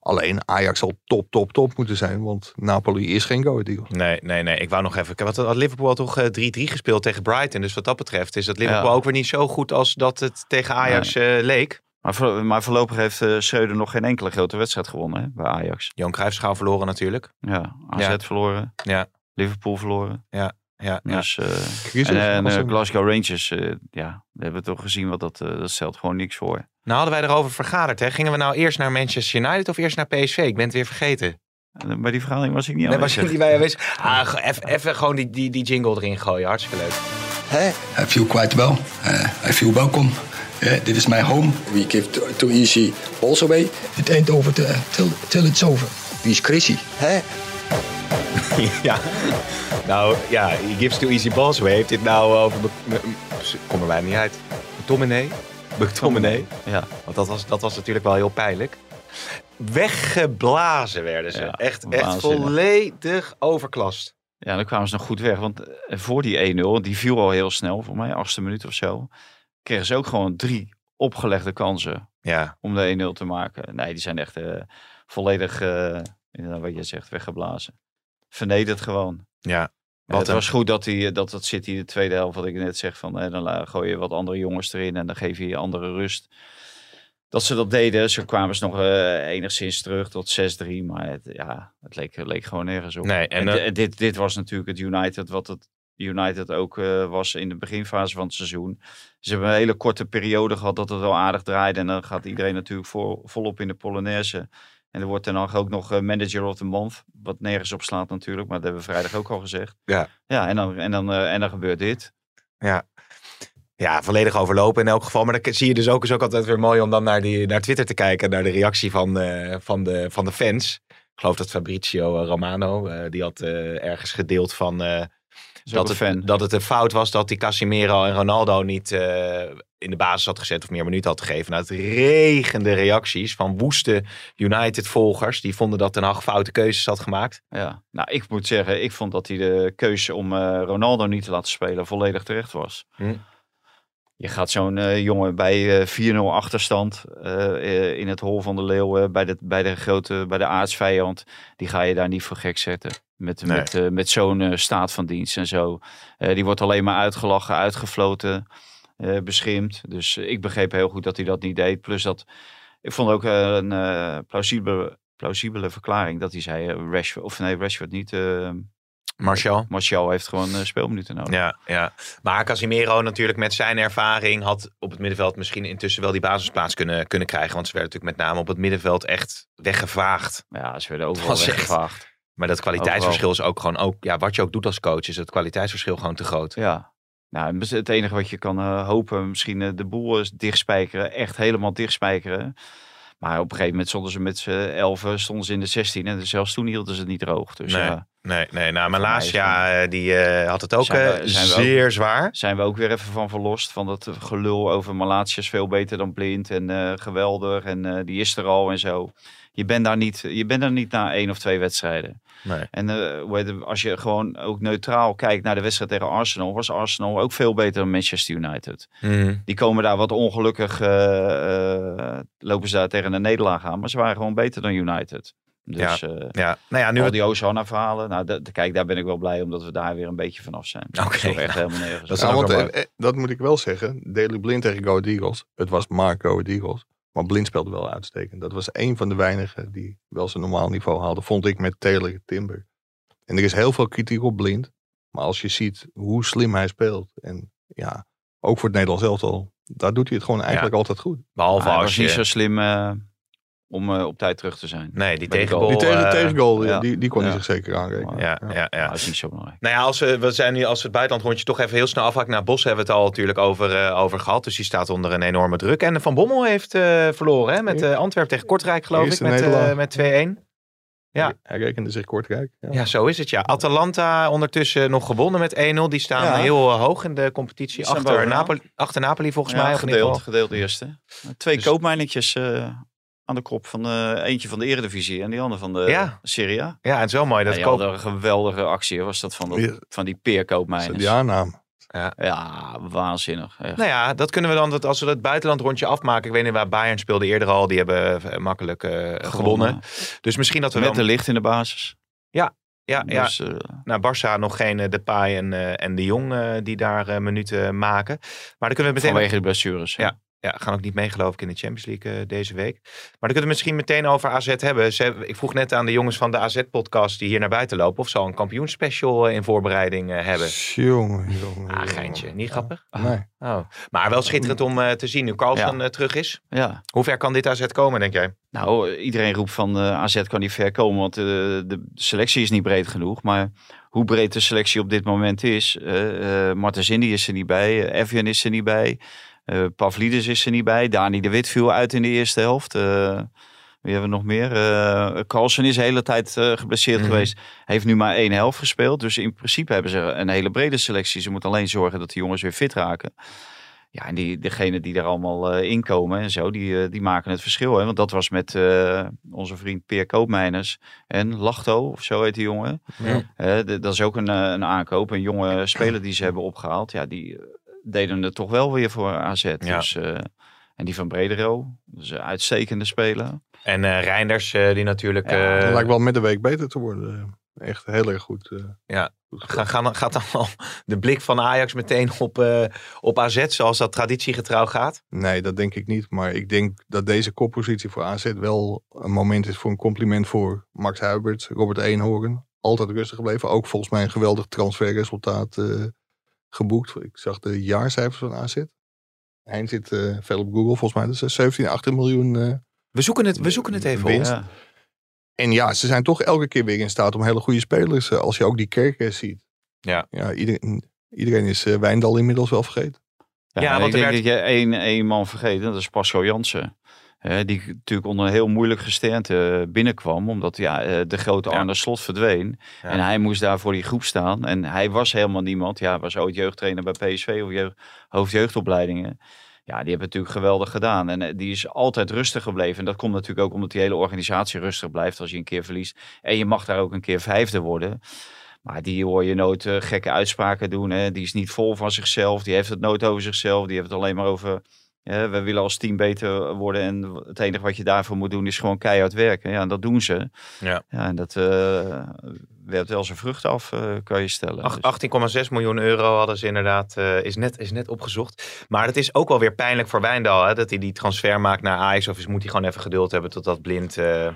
[SPEAKER 5] Alleen Ajax zal top, top, top moeten zijn, want Napoli is geen Go Ahead Eagles.
[SPEAKER 3] Nee, nee, nee. Ik wou nog even. Wat had Liverpool had toch eh, 3-3 gespeeld tegen Brighton. Dus wat dat betreft is dat Liverpool
[SPEAKER 4] Ja.
[SPEAKER 3] ook weer niet zo goed als dat het tegen Ajax eh, leek.
[SPEAKER 4] Maar, voor- maar voorlopig heeft eh Schreuder nog geen enkele grote wedstrijd gewonnen hè, bij Ajax.
[SPEAKER 3] Johan Cruijffschaal verloren natuurlijk.
[SPEAKER 4] Ja, AZ
[SPEAKER 3] Ja.
[SPEAKER 4] verloren,
[SPEAKER 3] Ja.
[SPEAKER 4] Liverpool verloren.
[SPEAKER 3] Ja, ja.
[SPEAKER 4] Dus, eh,
[SPEAKER 5] Crisis,
[SPEAKER 4] en en
[SPEAKER 5] als
[SPEAKER 4] eh,
[SPEAKER 5] een-
[SPEAKER 4] Glasgow Rangers, eh, ja, we hebben toch gezien wat dat, eh, dat stelt gewoon niks voor.
[SPEAKER 3] Nou hadden wij erover vergaderd. Hè? Gingen we nou eerst naar Manchester United of eerst naar PSV? Ik ben het weer vergeten.
[SPEAKER 4] En bij Eh, die vergadering was ik niet
[SPEAKER 3] Nee, was
[SPEAKER 4] aanwezig.
[SPEAKER 3] jullie bij aanwezig? Ah, ge- eff- even gewoon die, die, die jingle erin gooien. Hartstikke leuk.
[SPEAKER 6] Hey, I feel quite well. Uh, I feel welcome. Uh, this is my home. We give too, too easy balls away. It ain't over till, till, till it's over. Wie is Chrissy? Hè?
[SPEAKER 3] Ja. Nou, ja. He gives too easy balls away. Heeft dit nou over... Mc- m- m- Kom er bijna niet uit. McTominay? McTominay?
[SPEAKER 4] Ja.
[SPEAKER 3] Want dat was, dat was natuurlijk wel heel pijnlijk. Weggeblazen werden ze.
[SPEAKER 4] Ja,
[SPEAKER 3] echt, echt
[SPEAKER 4] waanzinnig.
[SPEAKER 3] volledig overklast.
[SPEAKER 4] Ja, dan kwamen ze nog goed weg. Want eh, voor die 1-0, want die viel al heel snel, voor mij, achtste minuut of zo, kregen ze ook gewoon drie opgelegde kansen
[SPEAKER 3] Ja.
[SPEAKER 4] om de 1-0 te maken. Nee, die zijn echt eh, volledig, eh, inderdaad wat je zegt, weggeblazen. Vernederd gewoon.
[SPEAKER 3] Ja.
[SPEAKER 4] En
[SPEAKER 3] Wat
[SPEAKER 4] het
[SPEAKER 3] een-
[SPEAKER 4] was goed dat, die, eh, dat dat City de tweede helft, wat ik net zeg, van eh, dan la- gooi je wat andere jongens erin en dan geef je je andere rust. Dat ze dat deden, ze kwamen ze nog eh, enigszins terug tot 6-3, maar het, ja, het leek, leek gewoon nergens op.
[SPEAKER 3] Nee, en,
[SPEAKER 4] En,
[SPEAKER 3] eh,
[SPEAKER 4] di- dit, dit was natuurlijk het United wat het United ook eh, was in de beginfase van het seizoen. Ze hebben een hele korte periode gehad dat het wel aardig draaide. En dan gaat iedereen natuurlijk vol, volop in de Polonaise. En er wordt dan ook nog eh, manager of the month. Wat nergens op slaat natuurlijk, maar dat hebben we vrijdag ook al gezegd.
[SPEAKER 3] Ja.
[SPEAKER 4] Ja, en dan, en dan, eh, en dan gebeurt dit.
[SPEAKER 3] Ja, volledig overlopen in elk geval. Maar dan zie je dus ook, is ook altijd weer mooi om dan naar, die, naar Twitter te kijken. Naar de reactie van, eh, van, de, van de fans. Ik geloof dat Fabrizio eh, Romano, eh, die had eh, ergens gedeeld van... eh, dat
[SPEAKER 4] een
[SPEAKER 3] het,
[SPEAKER 4] fan.
[SPEAKER 3] dat het een fout was dat die Casimiro en Ronaldo niet eh, in de basis had gezet of meer minuten had gegeven. Nou, het regende reacties van woeste United-volgers. Die vonden dat Ten Hag foute keuzes had gemaakt.
[SPEAKER 4] Ja. Nou, ik moet zeggen, ik vond dat hij de keuze om eh, Ronaldo niet te laten spelen volledig terecht was.
[SPEAKER 3] Hm.
[SPEAKER 4] Je gaat zo'n eh, jongen bij eh 4-0 achterstand eh, eh, in het hol van de leeuwen, bij de, bij de grote, bij de aardsvijand, die ga je daar niet voor gek zetten. Met,
[SPEAKER 3] Nee.
[SPEAKER 4] met, eh, met zo'n eh, staat van dienst en zo. Eh, die wordt alleen maar uitgelachen, uitgefloten, eh, beschimpt. Dus ik begreep heel goed dat hij dat niet deed. Plus dat, ik vond ook eh, een eh, plausibele, plausibele verklaring dat hij zei, eh, Rashford, of nee, Rashford niet, eh,
[SPEAKER 3] Martial.
[SPEAKER 4] Martial heeft gewoon eh, speelminuten nodig.
[SPEAKER 3] Ja, ja, maar Casimiro natuurlijk met zijn ervaring had op het middenveld misschien intussen wel die basisplaats kunnen, kunnen krijgen. Want ze werden natuurlijk met name op het middenveld echt weggevaagd.
[SPEAKER 4] Ja, ze werden overal
[SPEAKER 3] was echt-
[SPEAKER 4] weggevaagd.
[SPEAKER 3] Maar dat kwaliteitsverschil is ook gewoon, ook, ja, wat je ook doet als coach, is het kwaliteitsverschil gewoon te groot.
[SPEAKER 4] Ja. Nou, en het enige wat je kan eh, hopen, misschien eh, de boel is dichtspijkeren. Echt helemaal dichtspijkeren. Maar op een gegeven moment stonden ze met z'n elfen, stonden ze in de 16. En zelfs toen hielden ze het niet droog. Dus
[SPEAKER 3] Nee.
[SPEAKER 4] ja,
[SPEAKER 3] Nee, nee, nou,
[SPEAKER 4] Voor mij is
[SPEAKER 3] Malasia die eh, had het ook
[SPEAKER 4] Zijn we-
[SPEAKER 3] eh,
[SPEAKER 4] zijn we ook-
[SPEAKER 3] zeer zwaar.
[SPEAKER 4] zijn we ook weer even van verlost. Van dat gelul over Malatia is veel beter dan blind. En eh, geweldig. En eh, die is er al en zo. Je bent daar niet, je bent daar niet na één of twee wedstrijden.
[SPEAKER 3] Nee.
[SPEAKER 4] En eh, hoe heet het, als je gewoon ook neutraal kijkt naar de wedstrijd tegen Arsenal, was Arsenal ook veel beter dan Manchester United.
[SPEAKER 3] Mhm.
[SPEAKER 4] Die komen daar wat ongelukkig, eh, eh, lopen ze daar tegen een nederlaag aan, maar ze waren gewoon beter dan United. Dus eh
[SPEAKER 3] Ja, nou ja, nu
[SPEAKER 4] al
[SPEAKER 3] het-
[SPEAKER 4] die Osana-verhalen, nou, dat- kijk, daar ben ik wel blij om dat we daar weer een beetje vanaf zijn. dat
[SPEAKER 3] Oké,
[SPEAKER 4] is toch echt
[SPEAKER 3] nou,
[SPEAKER 4] helemaal nergens.
[SPEAKER 3] dat is
[SPEAKER 4] op.
[SPEAKER 5] Ja,
[SPEAKER 3] ook
[SPEAKER 5] want
[SPEAKER 3] wel
[SPEAKER 5] eh,
[SPEAKER 3] mooi.
[SPEAKER 5] eh, dat moet ik wel zeggen. Daley Blind tegen Go Ahead Eagles. Het was maar Go Ahead Eagles. Maar Blind speelde wel uitstekend. Dat was een van de weinigen die wel zijn normaal niveau haalde. Vond ik met Taylor Timber. En er is heel veel kritiek op Blind. Maar als je ziet hoe slim hij speelt. En ja, ook voor het Nederlands elftal. Daar doet hij het gewoon eigenlijk altijd goed.
[SPEAKER 3] behalve
[SPEAKER 4] Maar hij
[SPEAKER 3] als
[SPEAKER 4] was
[SPEAKER 3] je...
[SPEAKER 4] niet zo slim eh, om eh, op tijd terug te zijn.
[SPEAKER 3] Nee, die
[SPEAKER 4] Bij die
[SPEAKER 3] tegengoal.
[SPEAKER 5] Die tegen,
[SPEAKER 3] eh,
[SPEAKER 5] tegengoal,
[SPEAKER 4] ja.
[SPEAKER 5] die, die kon hij
[SPEAKER 4] Ja.
[SPEAKER 5] zich zeker aanrekenen.
[SPEAKER 3] Ja, ja, ja.
[SPEAKER 4] Dat is niet zo belangrijk.
[SPEAKER 3] Nou ja, als we, we zijn nu, als we het buitenlandrondje toch even heel snel afhaken. Naar Bos hebben we het al natuurlijk over, eh, over gehad. Dus die staat onder een enorme druk. En Van Bommel heeft eh, verloren hè, met eh Antwerpen tegen Kortrijk, geloof
[SPEAKER 5] Eerste
[SPEAKER 3] ik. Met, eh,
[SPEAKER 5] nederlaag.
[SPEAKER 3] met 2-1. Ja.
[SPEAKER 5] Hij rekende zich kortrijk. Ja.
[SPEAKER 3] Ja, zo is het ja. Atalanta ondertussen nog gewonnen met 1-0. Die staan
[SPEAKER 4] Ja.
[SPEAKER 3] heel eh, hoog in de competitie.
[SPEAKER 4] Die staan
[SPEAKER 3] Achter
[SPEAKER 4] bovenaan.
[SPEAKER 3] Napoli, achter Napoli volgens
[SPEAKER 4] Ja,
[SPEAKER 3] mij. Of in ieder
[SPEAKER 4] gedeeld,
[SPEAKER 3] geval.
[SPEAKER 4] gedeeld eerste. Twee
[SPEAKER 3] Dus-
[SPEAKER 4] koopmijnetjes eh, aan de kop. Van, eh, eentje van de Eredivisie en die andere van de
[SPEAKER 3] Ja.
[SPEAKER 4] Serie A.
[SPEAKER 3] Ja, en zo mooi. Dat
[SPEAKER 4] Dat ja,
[SPEAKER 3] koop-
[SPEAKER 4] wat een geweldige actie was dat van, dat,
[SPEAKER 5] Ja.
[SPEAKER 4] van die
[SPEAKER 5] Zet
[SPEAKER 4] peerkoopmijners.
[SPEAKER 5] die aannaam.
[SPEAKER 4] Ja, waanzinnig. echt.
[SPEAKER 3] Nou ja, dat kunnen we dan, dat, als we het buitenlandrondje afmaken. Ik weet niet waar Bayern speelde eerder al. Die hebben eh, makkelijk eh, gewonnen. Dus misschien dat we
[SPEAKER 4] Met de
[SPEAKER 3] wel...
[SPEAKER 4] licht in de basis.
[SPEAKER 3] Ja, ja,
[SPEAKER 4] Dus, eh,
[SPEAKER 3] Nou, Barça nog geen eh, Depay en, eh, en de Jong eh, die daar eh, minuten maken. Maar dan kunnen we meteen...
[SPEAKER 4] vanwege de blessures. hè.
[SPEAKER 3] Ja. Ja, gaan ook niet mee geloof ik in de Champions League eh, deze week. Maar dan kunnen we misschien meteen over AZ hebben. Ze hebben- ik vroeg net aan de jongens van de AZ-podcast die hier naar buiten lopen... of ze al een kampioenspecial eh, in voorbereiding eh, hebben.
[SPEAKER 5] Jongen, jongen.
[SPEAKER 3] Ah, geintje. Niet grappig?
[SPEAKER 5] Nee.
[SPEAKER 3] Oh. Maar wel schitterend om eh, te zien nu Carlson eh, terug is.
[SPEAKER 4] ja.
[SPEAKER 3] Hoe ver kan dit AZ komen, denk jij?
[SPEAKER 4] Nou, iedereen roept van eh, AZ kan niet ver komen, want eh, de selectie is niet breed genoeg. Maar hoe breed de selectie op dit moment is, eh eh Martens Indy is er niet bij, eh, Evian is er niet bij, eh Pavlidis is er niet bij, Dani de Wit viel uit in de eerste helft. eh wie hebben we nog meer? Eh Carlsen is de hele tijd eh, geblesseerd
[SPEAKER 3] Mhm.
[SPEAKER 4] geweest. Heeft nu maar één helft gespeeld. Dus in principe hebben ze een hele brede selectie. Ze moeten alleen zorgen dat die jongens weer fit raken. Ja, en die, degene die er allemaal eh, inkomen en zo, die, eh, die maken het verschil. Hè? Want dat was met eh, onze vriend Peer Koopmeiners en Lachto, of zo heet die jongen.
[SPEAKER 3] Ja.
[SPEAKER 4] Eh, d- dat is ook een, eh, een aankoop, een jonge speler die ze hebben opgehaald. Ja, die eh, deden het toch wel weer voor AZ.
[SPEAKER 3] Ja.
[SPEAKER 4] Dus, eh, en die van Bredero, dat is een uitstekende speler.
[SPEAKER 3] En eh, Reinders, eh, die natuurlijk...
[SPEAKER 4] Ja,
[SPEAKER 3] eh,
[SPEAKER 5] Het lijkt wel met de week beter te worden. Echt heel erg goed. eh,
[SPEAKER 3] Ja.
[SPEAKER 5] goed
[SPEAKER 3] Ga- gaan- gaat dan al de blik van Ajax meteen op, eh, op AZ, zoals dat traditiegetrouw gaat?
[SPEAKER 5] Nee, dat denk ik niet. Maar ik denk dat deze koppositie voor AZ wel een moment is voor een compliment voor Max Huibert, Robert Eenhoorn. Altijd rustig gebleven. Ook volgens mij een geweldig transferresultaat eh, geboekt. Ik zag de jaarcijfers van AZ. Hij zit eh, veel op Google, volgens mij. Dat is 17, 18 miljoen. eh.
[SPEAKER 3] We zoeken het, we zoeken het even op.
[SPEAKER 5] Winst.
[SPEAKER 4] Ja.
[SPEAKER 5] En ja, ze zijn toch elke keer weer in staat om hele goede spelers. eh, als je ook die kerken ziet.
[SPEAKER 3] Ja.
[SPEAKER 5] ja iedereen, iedereen is eh, Wijndal inmiddels wel vergeten.
[SPEAKER 4] Ja,
[SPEAKER 3] Ja,
[SPEAKER 4] ik
[SPEAKER 3] want er
[SPEAKER 4] denk
[SPEAKER 3] werd-
[SPEAKER 4] dat je één, één man vergeet. Dat is Pascal Jansen. Hè, die natuurlijk onder een heel moeilijk gesternte binnenkwam. Omdat ja, eh, de grote
[SPEAKER 3] Ja.
[SPEAKER 4] Arne Slot verdween.
[SPEAKER 3] Ja.
[SPEAKER 4] En hij moest daar voor die groep staan. En hij was helemaal niemand. Ja, was ooit jeugdtrainer bij PSV of jeugd, hoofdjeugdopleidingen. Ja, die hebben het natuurlijk geweldig gedaan. En eh, die is altijd rustig gebleven. En dat komt natuurlijk ook omdat die hele organisatie rustig blijft als je een keer verliest. En je mag daar ook een keer vijfde worden. Maar die hoor je nooit eh, gekke uitspraken doen. Hè. Die is niet vol van zichzelf. Die heeft het nooit over zichzelf. Die heeft het alleen maar over. hè, we willen als team beter worden. En het enige wat je daarvoor moet doen is gewoon keihard werken. Ja, en dat doen ze.
[SPEAKER 3] Ja.
[SPEAKER 4] en dat eh werpt wel zijn vrucht af, eh, kan je stellen.
[SPEAKER 3] Ach-
[SPEAKER 4] Dus-
[SPEAKER 3] 18,6 miljoen euro hadden ze inderdaad, eh, is, net, is net opgezocht. Maar het is ook wel weer pijnlijk voor Wijndal hè, dat hij die transfer maakt naar Ajax. Of is, moet hij gewoon even geduld hebben totdat blind... eh,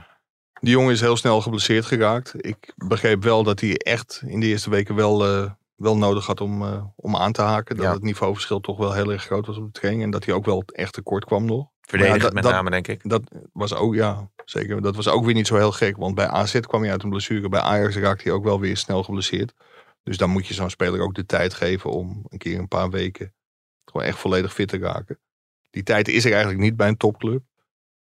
[SPEAKER 5] Die jongen is heel snel geblesseerd geraakt. Ik begreep wel dat hij echt in de eerste weken wel, eh, wel nodig had om, eh, om aan te haken. Dat
[SPEAKER 3] Ja.
[SPEAKER 5] het niveauverschil toch wel heel erg groot was op de training. En dat hij ook wel echt tekort kwam nog.
[SPEAKER 3] verdedigend
[SPEAKER 5] dat-
[SPEAKER 3] met
[SPEAKER 5] dat-
[SPEAKER 3] name, denk ik.
[SPEAKER 5] Dat was ook, ja, zeker. Dat was ook weer niet zo heel gek. Want bij AZ kwam hij uit een blessure. Bij Ajax raakte hij ook wel weer snel geblesseerd. Dus dan moet je zo'n speler ook de tijd geven om een keer een paar weken gewoon echt volledig fit te raken. Die tijd is er eigenlijk niet bij een topclub.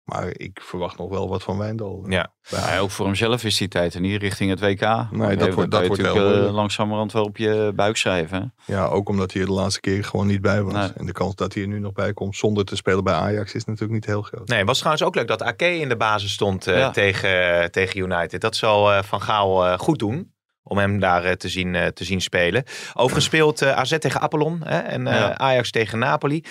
[SPEAKER 5] Maar ik verwacht nog wel wat van Wijndal.
[SPEAKER 3] Ja.
[SPEAKER 5] Bij
[SPEAKER 4] Maar ook voor hemzelf is die tijd er niet richting het WK.
[SPEAKER 5] Nee, dat
[SPEAKER 4] kan je
[SPEAKER 5] wordt- dat wordt
[SPEAKER 4] natuurlijk
[SPEAKER 5] wel,
[SPEAKER 4] eh,
[SPEAKER 5] eh,
[SPEAKER 4] langzamerhand wel op je buik schrijven. hè.
[SPEAKER 5] Ja, ook omdat hij er de laatste keer gewoon niet bij was.
[SPEAKER 4] Nee.
[SPEAKER 5] En de kans dat hij er nu nog bij komt zonder te spelen bij Ajax is natuurlijk niet heel groot.
[SPEAKER 3] Nee, het was trouwens ook leuk dat Ake in de basis stond eh,
[SPEAKER 4] Ja.
[SPEAKER 3] tegen, tegen United. Dat zal eh, Van Gaal eh, goed doen. Om hem daar eh, te, zien, eh, te zien spelen. Overigens speelt eh, AZ tegen Apollon hè, en eh,
[SPEAKER 4] Ja.
[SPEAKER 3] Ajax tegen Napoli.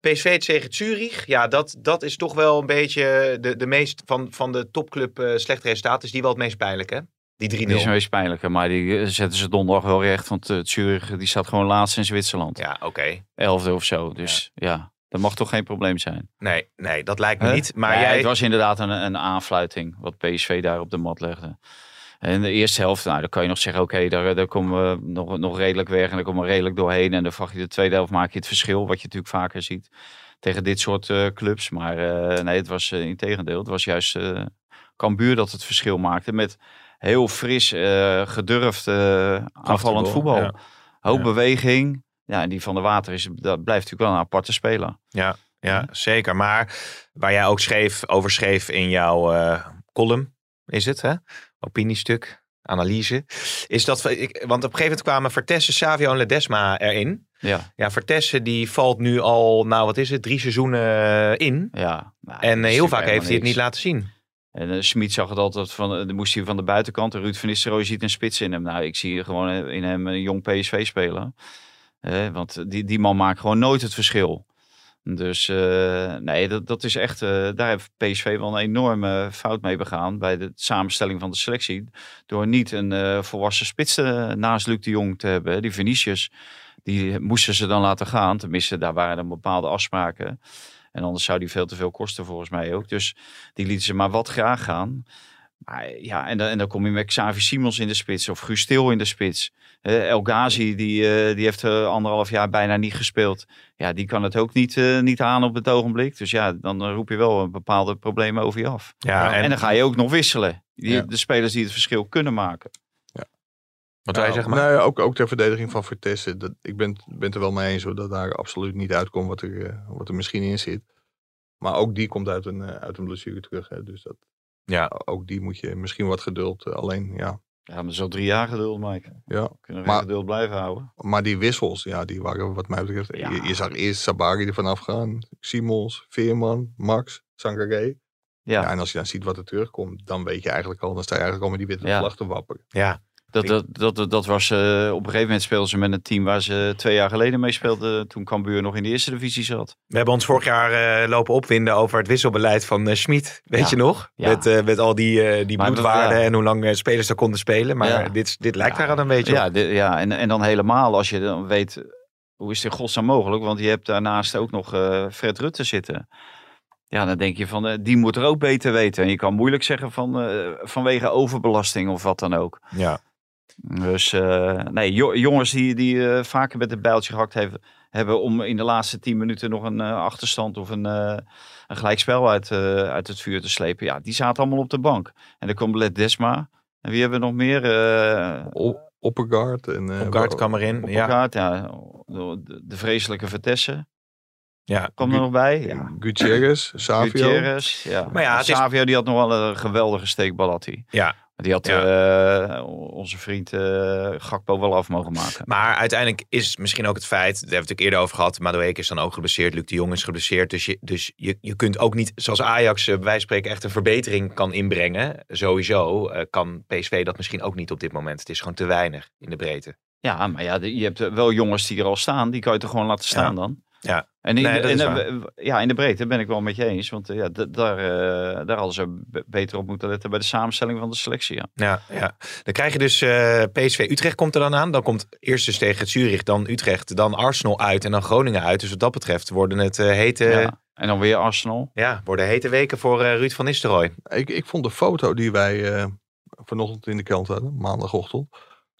[SPEAKER 3] PSV tegen Zurich. Ja, dat, dat is toch wel een beetje de, de meest van, van de topclub eh, slecht resultaat. Is die wel het meest pijnlijk, hè? Die 3-0.
[SPEAKER 4] Die is meest pijnlijke, maar die eh, zetten ze donderdag wel recht. Want eh Zurich die staat gewoon laatst in Zwitserland.
[SPEAKER 3] Ja, oké.
[SPEAKER 4] Elfde of zo. Dus ja. dat mag toch geen probleem zijn.
[SPEAKER 3] Nee, nee, dat lijkt me
[SPEAKER 4] Hè?
[SPEAKER 3] niet. Maar
[SPEAKER 4] Ja,
[SPEAKER 3] jij...
[SPEAKER 4] Het was inderdaad een, een aanfluiting wat PSV daar op de mat legde. En de eerste helft, nou, dan kan je nog zeggen, oké, daar, daar komen we nog, nog redelijk weg en daar komen we redelijk doorheen. En dan vraag je de tweede helft, maak je het verschil, wat je natuurlijk vaker ziet tegen dit soort eh, clubs. Maar eh, nee, het was in integendeel, het was juist eh Cambuur dat het verschil maakte met heel fris, eh, gedurfd eh, aanvallend voetbal.
[SPEAKER 3] ja.
[SPEAKER 4] Hoop
[SPEAKER 3] Ja.
[SPEAKER 4] beweging. Ja, en die van de Water is, dat blijft natuurlijk wel een aparte speler.
[SPEAKER 3] Ja, ja,
[SPEAKER 4] Mhm.
[SPEAKER 3] zeker. Maar waar jij ook schreef, over schreef in jouw eh, column, is het, hè? Opiniestuk, analyse. Is dat, ik, want op een gegeven moment kwamen Vertessen, Savio en Ledesma erin.
[SPEAKER 4] Ja,
[SPEAKER 3] Ja, Vertessen die valt nu al, nou wat is het, drie seizoenen eh, in.
[SPEAKER 4] ja.
[SPEAKER 3] En eh,
[SPEAKER 4] Nou, dat is
[SPEAKER 3] heel
[SPEAKER 4] natuurlijk
[SPEAKER 3] vaak heeft hij het
[SPEAKER 4] helemaal
[SPEAKER 3] niet
[SPEAKER 4] niks.
[SPEAKER 3] laten zien.
[SPEAKER 4] En eh, Smit zag het altijd van, eh, dan moest hij van de buitenkant. En Ruud van Nistelrooy ziet een spits in hem. Nou, ik zie gewoon eh, in hem een jong PSV speler. Eh, want die, die man maakt gewoon nooit het verschil. Dus eh, nee, dat, dat is echt, eh, daar heeft PSV wel een enorme eh, fout mee begaan bij de samenstelling van de selectie. Door niet een eh, volwassen spits eh, naast Luc de Jong te hebben. Die Venetius, die eh, moesten ze dan laten gaan. Tenminste, daar waren dan bepaalde afspraken. En anders zou die veel te veel kosten volgens mij ook. Dus die lieten ze maar wat graag gaan. Maar ja, en dan, en dan kom je met Xavi Simons in de spits of Guus Til in de spits. Eh, El Ghazi, die, eh, die heeft eh, anderhalf jaar bijna niet gespeeld. Ja, die kan het ook niet, eh, niet aan op het ogenblik. Dus ja, dan eh, roep je wel een bepaalde problemen over je af.
[SPEAKER 3] Ja,
[SPEAKER 4] En,
[SPEAKER 3] en,
[SPEAKER 4] dan ga je ook nog wisselen. Die,
[SPEAKER 5] Ja.
[SPEAKER 4] De spelers die het verschil kunnen maken.
[SPEAKER 3] wat wij
[SPEAKER 5] Nou,
[SPEAKER 3] zeggen, maar.
[SPEAKER 5] nou ja, ook, ook ter verdediging van Vertessen. Dat, ik ben, ben het er wel mee eens hoor, dat daar absoluut niet uitkomt wat er, eh, wat er misschien in zit. Maar ook die komt uit een, eh, uit een blessure terug. Hè, dus dat,
[SPEAKER 3] Ja.
[SPEAKER 5] ook die moet je misschien wat geduld. eh, alleen ja.
[SPEAKER 4] Ja, maar zo drie jaar geduld, Mike.
[SPEAKER 5] ja.
[SPEAKER 4] Kunnen we
[SPEAKER 5] Maar-
[SPEAKER 4] geduld blijven houden?
[SPEAKER 5] Maar die wissels, ja, die waren wat mij betreft.
[SPEAKER 4] Ja.
[SPEAKER 5] Je, je zag eerst Sabari er vanaf gaan. Simons, Veerman, Max, Sangaré.
[SPEAKER 4] Ja,
[SPEAKER 5] Ja, en als je dan ziet wat er terugkomt, dan weet je eigenlijk al, dan sta je eigenlijk al met die witte
[SPEAKER 4] Ja.
[SPEAKER 5] vlag te wapperen.
[SPEAKER 3] Ja,
[SPEAKER 4] Dat, dat, dat, dat, dat was eh, op een gegeven moment speelden ze met een team waar ze twee jaar geleden mee speelden. Toen Cambuur nog in de eerste divisie zat.
[SPEAKER 3] we hebben ons vorig jaar eh, lopen opwinden over het wisselbeleid van eh Schmid. Weet
[SPEAKER 4] Ja.
[SPEAKER 3] je nog?
[SPEAKER 4] Ja.
[SPEAKER 3] Met, eh, met al die, eh, die
[SPEAKER 4] Maar dat-
[SPEAKER 3] bloedwaarden
[SPEAKER 4] ja.
[SPEAKER 3] en hoe lang eh, spelers daar konden spelen. Maar
[SPEAKER 4] Ja.
[SPEAKER 3] dit, dit lijkt
[SPEAKER 4] Ja.
[SPEAKER 3] daar aan een beetje op.
[SPEAKER 4] Ja, de- ja en, en dan helemaal als je dan weet, hoe is dit in godsnaam mogelijk? Want je hebt daarnaast ook nog eh, Fred Rutte zitten. Ja, dan denk je van, eh, die moet er ook beter weten. En je kan moeilijk zeggen van, eh, vanwege overbelasting of wat dan ook.
[SPEAKER 3] ja.
[SPEAKER 4] Dus eh, nee, jo- jongens die, die eh, vaker met een bijltje gehakt hebben, hebben om in de laatste tien minuten nog een eh, achterstand of een, eh, een gelijkspel uit, eh, uit het vuur te slepen. Ja, die zaten allemaal op de bank. En dan komt Ledesma. En wie hebben we nog meer? Eh,
[SPEAKER 5] O- Oppergaard. En, eh,
[SPEAKER 3] Opgaard kwam erin. Ja.
[SPEAKER 4] Opgaat, ja. De, de vreselijke Vertessen
[SPEAKER 3] Ja.
[SPEAKER 4] kwam er nog bij. Ja.
[SPEAKER 5] Gutierrez, Savio.
[SPEAKER 4] Gutierrez, ja.
[SPEAKER 3] Maar ja, het is-
[SPEAKER 4] Savio die had nog wel een geweldige steekbal had hij.
[SPEAKER 3] ja.
[SPEAKER 4] Die had eh, onze vriend eh, Gakpo wel af mogen maken.
[SPEAKER 3] Maar uiteindelijk is misschien ook het feit, daar hebben we het natuurlijk eerder over gehad, Madueke is dan ook geblesseerd, Luc de Jong is geblesseerd. Dus je, dus je, je kunt ook niet, zoals Ajax eh, bij wijze van spreken echt een verbetering kan inbrengen, sowieso, eh, kan PSV dat misschien ook niet op dit moment. Het is gewoon te weinig in de breedte.
[SPEAKER 4] Ja, maar ja, de- je hebt eh, wel jongens die er al staan. Die kan je toch gewoon laten staan dan?
[SPEAKER 3] Ja.
[SPEAKER 4] En in,
[SPEAKER 3] Nee,
[SPEAKER 4] de,
[SPEAKER 3] dat
[SPEAKER 4] in
[SPEAKER 3] is
[SPEAKER 4] de- ja, in de breedte ben ik wel met je eens. Want eh, ja, d- daar, eh, daar hadden ze b- beter op moeten letten bij de samenstelling van de selectie. Ja.
[SPEAKER 3] Ja, ja. Dan krijg je dus eh, PSV Utrecht komt er dan aan. Dan komt eerst dus tegen Zurich, dan Utrecht, dan Arsenal uit en dan Groningen uit. Dus wat dat betreft worden het eh, hete, ja.
[SPEAKER 4] Ja. En dan weer Arsenal.
[SPEAKER 3] worden hete weken voor eh, Ruud van Nistelrooy.
[SPEAKER 5] Ik, ik vond de foto die wij eh, vanochtend in de krant hadden, maandagochtend,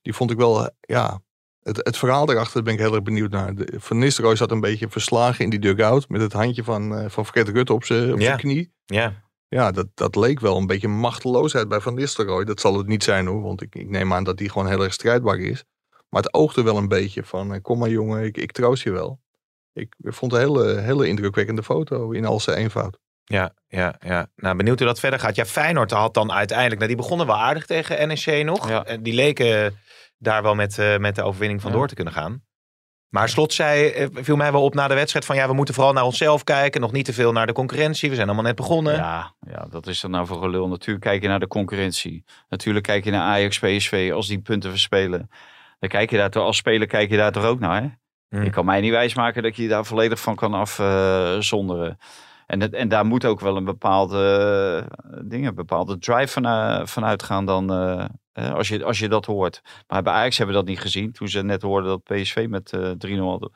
[SPEAKER 5] die vond ik wel, eh, ja, het, het verhaal erachter ben ik heel erg benieuwd naar. De, van Nistelrooy zat een beetje verslagen in die dugout met het handje van, eh, van Fred Rutte op zijn op
[SPEAKER 3] Ja.
[SPEAKER 5] zijn knie.
[SPEAKER 3] Ja,
[SPEAKER 5] Ja, dat, dat leek wel een beetje machteloosheid bij Van Nistelrooy. Dat zal het niet zijn hoor, want ik, ik neem aan dat die gewoon heel erg strijdbaar is. Maar het oogde wel een beetje van, eh, kom maar jongen, ik, ik troost je wel. Ik vond het een hele, hele indrukwekkende foto in al zijn eenvoud.
[SPEAKER 3] ja, ja, ja. Nou, benieuwd hoe dat verder gaat. Ja, Feyenoord had dan uiteindelijk, nou die begonnen wel aardig tegen NEC nog.
[SPEAKER 4] Ja.
[SPEAKER 3] En die leken eh, daar wel met, eh, met de overwinning vandoor
[SPEAKER 4] Ja.
[SPEAKER 3] te kunnen gaan. Maar Slot zei, eh, viel mij wel op na de wedstrijd, van ja, we moeten vooral naar onszelf kijken. Nog niet te veel naar de concurrentie. We zijn allemaal net begonnen.
[SPEAKER 4] Ja, ja, dat is dan nou voor gelul. Natuurlijk kijk je naar de concurrentie. Natuurlijk kijk je naar Ajax, PSV. Als die punten verspelen. Dan kijk je daar toch, als speler kijk je daar toch ook naar. Hè?
[SPEAKER 3] Hmm.
[SPEAKER 4] Je kan mij niet wijsmaken dat je je daar volledig van kan afzonderen. en, het- en daar moet ook wel een bepaalde, eh, dingen, een bepaalde drive van, eh, van uitgaan dan, eh, eh, als, je, als je dat hoort. Maar bij Ajax hebben we dat niet gezien. Toen ze net hoorden dat PSV met eh 3-0 had,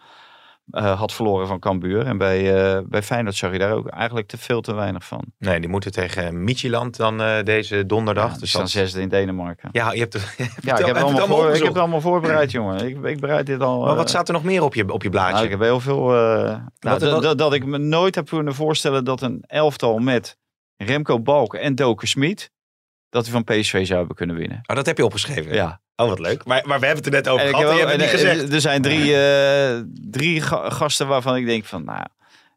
[SPEAKER 4] eh, had verloren van Cambuur. En bij, eh, bij Feyenoord zag je daar ook eigenlijk te veel te weinig van.
[SPEAKER 3] Nee, die moeten tegen Michieland dan eh, deze donderdag.
[SPEAKER 4] Ja, die
[SPEAKER 3] dus
[SPEAKER 4] staan
[SPEAKER 3] dat-
[SPEAKER 4] zesde in Denemarken.
[SPEAKER 3] Ja, je hebt het, je hebt
[SPEAKER 4] Ja, ik heb, het allemaal voor, ik heb
[SPEAKER 3] opgezocht.
[SPEAKER 4] het allemaal voorbereid, jongen. Ik, ik bereid dit al.
[SPEAKER 3] Maar
[SPEAKER 4] eh,
[SPEAKER 3] wat staat er nog meer op je, op je blaadje?
[SPEAKER 4] Nou, ik heb heel veel. eh, nou,
[SPEAKER 3] dat-
[SPEAKER 4] dat, dat, dat ik me nooit heb kunnen voorstellen dat een elftal met Remco Balk en Doken Smit. dat die van PSV zou hebben kunnen winnen.
[SPEAKER 3] Oh, dat heb je opgeschreven.
[SPEAKER 4] Ja.
[SPEAKER 3] Oh, wat leuk. Maar, maar we hebben het er net over
[SPEAKER 4] En ik
[SPEAKER 3] gehad.
[SPEAKER 4] heb
[SPEAKER 3] en
[SPEAKER 4] ook-
[SPEAKER 3] je hebt het niet
[SPEAKER 4] en- en
[SPEAKER 3] gezegd.
[SPEAKER 4] er zijn drie, eh, drie ga- gasten waarvan ik denk van. Nou,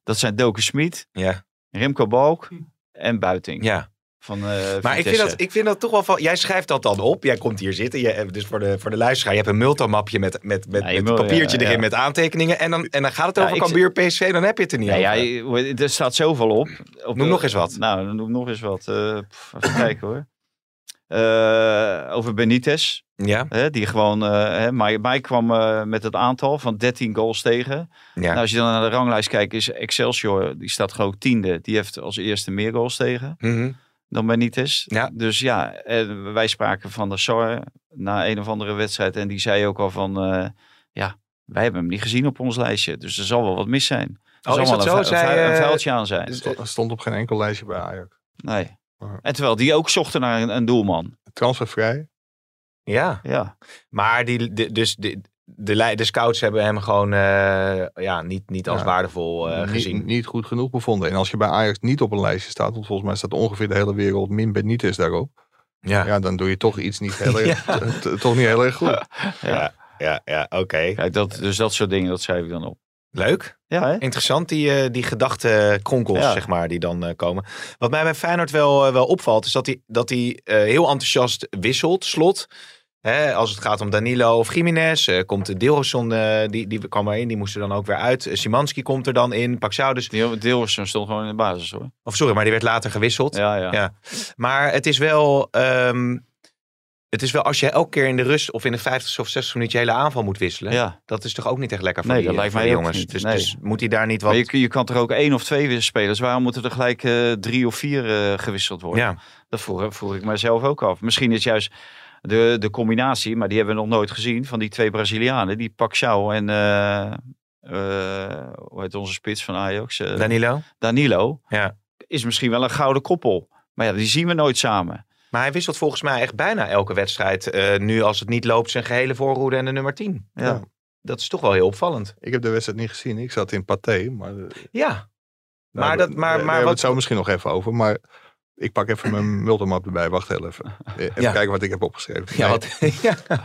[SPEAKER 4] dat zijn Doken Smit,
[SPEAKER 3] Ja.
[SPEAKER 4] Remco Balk en Buiting.
[SPEAKER 3] Hm. ja.
[SPEAKER 4] Van, eh,
[SPEAKER 3] Maar ik vind, dat, ik vind dat toch wel van. Jij schrijft dat dan op. Jij komt hier zitten. Je, hebt- dus voor de, voor de luisteraar. Je hebt een multamapje met, met, met,
[SPEAKER 4] Ja, je
[SPEAKER 3] met
[SPEAKER 4] mul-
[SPEAKER 3] papiertje
[SPEAKER 4] ja, ja.
[SPEAKER 3] erin met aantekeningen. En dan, en dan gaat het
[SPEAKER 4] Ja,
[SPEAKER 3] over
[SPEAKER 4] ik-
[SPEAKER 3] Cambuur PSV. Dan heb je het er niet.
[SPEAKER 4] ja,
[SPEAKER 3] over.
[SPEAKER 4] ja, er staat zoveel op. op
[SPEAKER 3] Noem
[SPEAKER 4] de-
[SPEAKER 3] nog eens wat.
[SPEAKER 4] Nou, noem nog eens wat. Eh, pff, even kijken hoor. Eh, over Benitez.
[SPEAKER 3] ja.
[SPEAKER 4] Hè, die gewoon, eh, hè, Mike, Mike kwam eh, met het aantal van 13 goals tegen.
[SPEAKER 3] ja.
[SPEAKER 4] Nou, als je dan naar de ranglijst kijkt, is Excelsior, die staat geloof ik tiende. Die heeft als eerste meer goals tegen
[SPEAKER 3] Mhm.
[SPEAKER 4] dan Benitez.
[SPEAKER 3] Ja.
[SPEAKER 4] Dus ja, en wij spraken van de Sar na een of andere wedstrijd. En die zei ook al van, eh, ja, wij hebben hem niet gezien op ons lijstje. Dus er zal wel wat mis zijn. Er
[SPEAKER 3] Oh,
[SPEAKER 4] zal
[SPEAKER 3] is
[SPEAKER 4] wel
[SPEAKER 3] dat
[SPEAKER 4] een,
[SPEAKER 3] zo?
[SPEAKER 4] vu-
[SPEAKER 3] Zei,
[SPEAKER 4] een, vu- een
[SPEAKER 3] eh,
[SPEAKER 4] vuiltje aan zijn.
[SPEAKER 3] Dus, eh,
[SPEAKER 5] Stond, stond op geen enkel lijstje bij Ajax.
[SPEAKER 4] Nee.
[SPEAKER 3] Oh.
[SPEAKER 5] Ja.
[SPEAKER 4] En terwijl die ook zochten naar een, een doelman.
[SPEAKER 5] Transfervrij.
[SPEAKER 3] ja.
[SPEAKER 4] Ja.
[SPEAKER 3] Maar die, de, dus de, de, lei- de scouts hebben hem gewoon eh, ja, niet, niet als
[SPEAKER 5] Ja.
[SPEAKER 3] waardevol eh,
[SPEAKER 5] niet-
[SPEAKER 3] gezien.
[SPEAKER 5] Niet, goed genoeg bevonden. En als je bij Ajax niet op een lijstje staat, want volgens mij staat ongeveer de hele wereld min Benitez daarop.
[SPEAKER 3] Ja, ja,
[SPEAKER 5] Ja, dan doe je toch iets niet heel erg, t- t- toch niet heel erg goed.
[SPEAKER 3] ja. ja, oké.
[SPEAKER 4] Kijk, dat, dus dat soort dingen, dat schrijf ik dan op.
[SPEAKER 3] Leuk.
[SPEAKER 4] Ja, hè?
[SPEAKER 3] Interessant, die, eh die gedachtenkronkels,
[SPEAKER 4] Ja.
[SPEAKER 3] zeg maar, die dan eh, komen. Wat mij bij Feyenoord wel, eh, wel opvalt, is dat hij dat die, eh, heel enthousiast wisselt, slot. Hè, als het gaat om Danilo of Jiménez, eh, komt de Dilroson, eh, die, die kwam erin, die moest er dan ook weer uit. Eh, Simanski komt er dan in, Paxau dus.
[SPEAKER 4] Deel- Deelsen stond gewoon in de basis hoor.
[SPEAKER 3] Of sorry, maar die werd later gewisseld.
[SPEAKER 4] Ja, ja.
[SPEAKER 3] Ja. Maar het is wel. ehm, het is wel als je elke keer in de rust of in de 50 of 60 minuut je hele aanval moet wisselen.
[SPEAKER 4] Ja.
[SPEAKER 3] Dat is toch ook niet echt lekker voor
[SPEAKER 4] Nee,
[SPEAKER 3] die,
[SPEAKER 4] dat lijkt
[SPEAKER 3] voor
[SPEAKER 4] mij
[SPEAKER 3] die
[SPEAKER 4] ook
[SPEAKER 3] jongens.
[SPEAKER 4] niet.
[SPEAKER 3] Dus,
[SPEAKER 4] Nee.
[SPEAKER 3] dus moet hij daar niet
[SPEAKER 4] Maar
[SPEAKER 3] wat.
[SPEAKER 4] je, je kan er ook één of twee weer spelers. Waarom moeten er gelijk eh, drie of vier eh, gewisseld worden?
[SPEAKER 3] Ja,
[SPEAKER 4] Dat vroeg, vroeg ik mezelf ook af. Misschien is juist de, de combinatie, maar die hebben we nog nooit gezien, van die twee Brazilianen. Die Paxao en, eh, eh, hoe heet onze spits van Ajax? Eh,
[SPEAKER 3] Danilo.
[SPEAKER 4] Danilo.
[SPEAKER 3] Ja.
[SPEAKER 4] Is misschien wel een gouden koppel. Maar ja, die zien we nooit samen.
[SPEAKER 3] Maar hij wisselt volgens mij echt bijna elke wedstrijd. eh, nu als het niet loopt, zijn gehele voorhoede en de nummer 10.
[SPEAKER 4] Ja.
[SPEAKER 5] Ja.
[SPEAKER 3] Dat is toch wel heel opvallend.
[SPEAKER 5] Ik heb de wedstrijd niet gezien. Ik zat in Pathé. Maar, eh,
[SPEAKER 3] Ja. Maar dat- maar-
[SPEAKER 5] daar- daar- daar
[SPEAKER 3] maar
[SPEAKER 5] hebben Nou, we
[SPEAKER 3] wat-
[SPEAKER 5] het zo misschien nog even over. Maar ik pak even mijn multimap erbij. Wacht heel even. Eh, Even
[SPEAKER 3] Ja.
[SPEAKER 5] kijken wat ik heb opgeschreven.
[SPEAKER 3] Ja,
[SPEAKER 5] Nee,
[SPEAKER 3] wat- ja.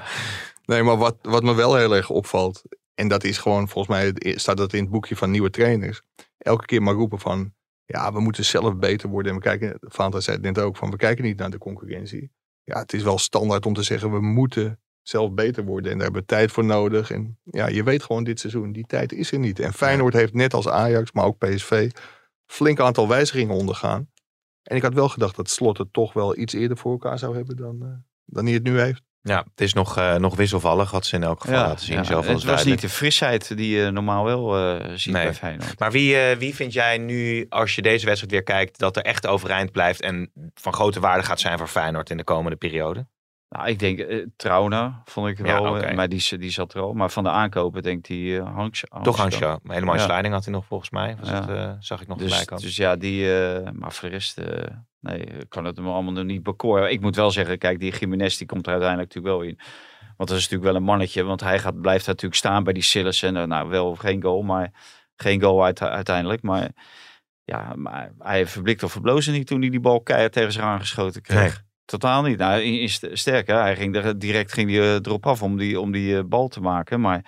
[SPEAKER 5] Nee, maar wat, wat me wel heel erg opvalt, en dat is gewoon, volgens mij staat dat in het boekje van nieuwe trainers. Elke keer maar roepen van, ja, we moeten zelf beter worden. En we kijken, Fanta zei het net ook, van we kijken niet naar de concurrentie. Ja, het is wel standaard om te zeggen, we moeten zelf beter worden. En daar hebben we tijd voor nodig. En ja, je weet gewoon dit seizoen, die tijd is er niet. En Feyenoord heeft net als Ajax, maar ook PSV, flink aantal wijzigingen ondergaan. En ik had wel gedacht dat Slot het toch wel iets eerder voor elkaar zou hebben dan, eh, dan hij het nu heeft.
[SPEAKER 3] Ja, het is nog, eh, nog wisselvallig wat ze in elk geval laten zien. zelf
[SPEAKER 4] het
[SPEAKER 3] als
[SPEAKER 4] was niet de frisheid die je normaal wel eh ziet
[SPEAKER 3] Nee.
[SPEAKER 4] bij Feyenoord.
[SPEAKER 3] Maar wie, eh, wie vind jij nu, als je deze wedstrijd weer kijkt, dat er echt overeind blijft en van grote waarde gaat zijn voor Feyenoord in de komende periode?
[SPEAKER 4] Nou, ik denk eh Trauna vond ik
[SPEAKER 3] Ja,
[SPEAKER 4] wel, eh,
[SPEAKER 3] oké.
[SPEAKER 4] maar die, z- die zat er al. Maar van de aankopen denk ik die eh Hanks.
[SPEAKER 3] Toch Hansjo. Een hele mooie
[SPEAKER 4] Ja.
[SPEAKER 3] sliding had hij nog volgens mij. Was
[SPEAKER 4] Ja.
[SPEAKER 3] het, eh, zag ik nog
[SPEAKER 4] Dus,
[SPEAKER 3] gelijk komen.
[SPEAKER 4] dus ja, die. eh, maar voor de rest, eh, nee, ik kan het hem allemaal nog niet bekoren. Ik moet wel zeggen, kijk, die Jiménez die komt er uiteindelijk natuurlijk wel in. Want dat is natuurlijk wel een mannetje, want hij gaat, blijft natuurlijk staan bij die Sillis. En eh, nou, wel geen goal, maar geen goal uit, uiteindelijk. Maar ja, maar hij verblikt of verbloosde niet toen hij die bal keihard tegen zich aangeschoten kreeg. Totaal niet. Nou, in- in st- sterk, hè. Hij ging er, direct ging die, eh, erop af om die, om die eh, bal te maken. Maar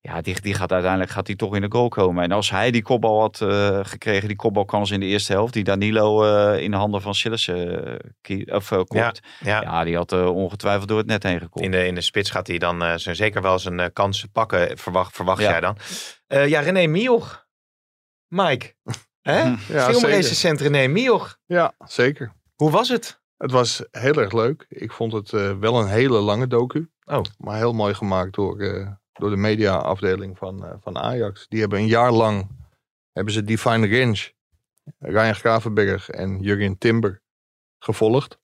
[SPEAKER 4] ja, die, die gaat uiteindelijk gaat die toch in de goal komen. En als hij die kopbal had eh, gekregen, die kopbalkans in de eerste helft, die Danilo eh, in de handen van Sillissen eh, kie- of eh, kopt.
[SPEAKER 3] ja.
[SPEAKER 4] Ja. die had eh, ongetwijfeld door het net heen gekomen.
[SPEAKER 3] In de, in de spits gaat hij dan eh, zijn zeker wel zijn eh, kansen pakken, verwacht, verwacht
[SPEAKER 4] Ja.
[SPEAKER 3] jij dan. Eh, ja, René Mioch. Mike. Hè?
[SPEAKER 5] Ja,
[SPEAKER 3] Filmrecensent René Mioch.
[SPEAKER 5] Ja, zeker.
[SPEAKER 3] Hoe was het?
[SPEAKER 5] Het was heel erg leuk. Ik vond het eh, wel een hele lange docu.
[SPEAKER 3] Oh.
[SPEAKER 5] Maar heel mooi gemaakt door, eh, door de mediaafdeling van, eh, van Ajax. Die hebben een jaar lang hebben ze Divine Range, Ryan Gravenberg en Jurgen Timber gevolgd.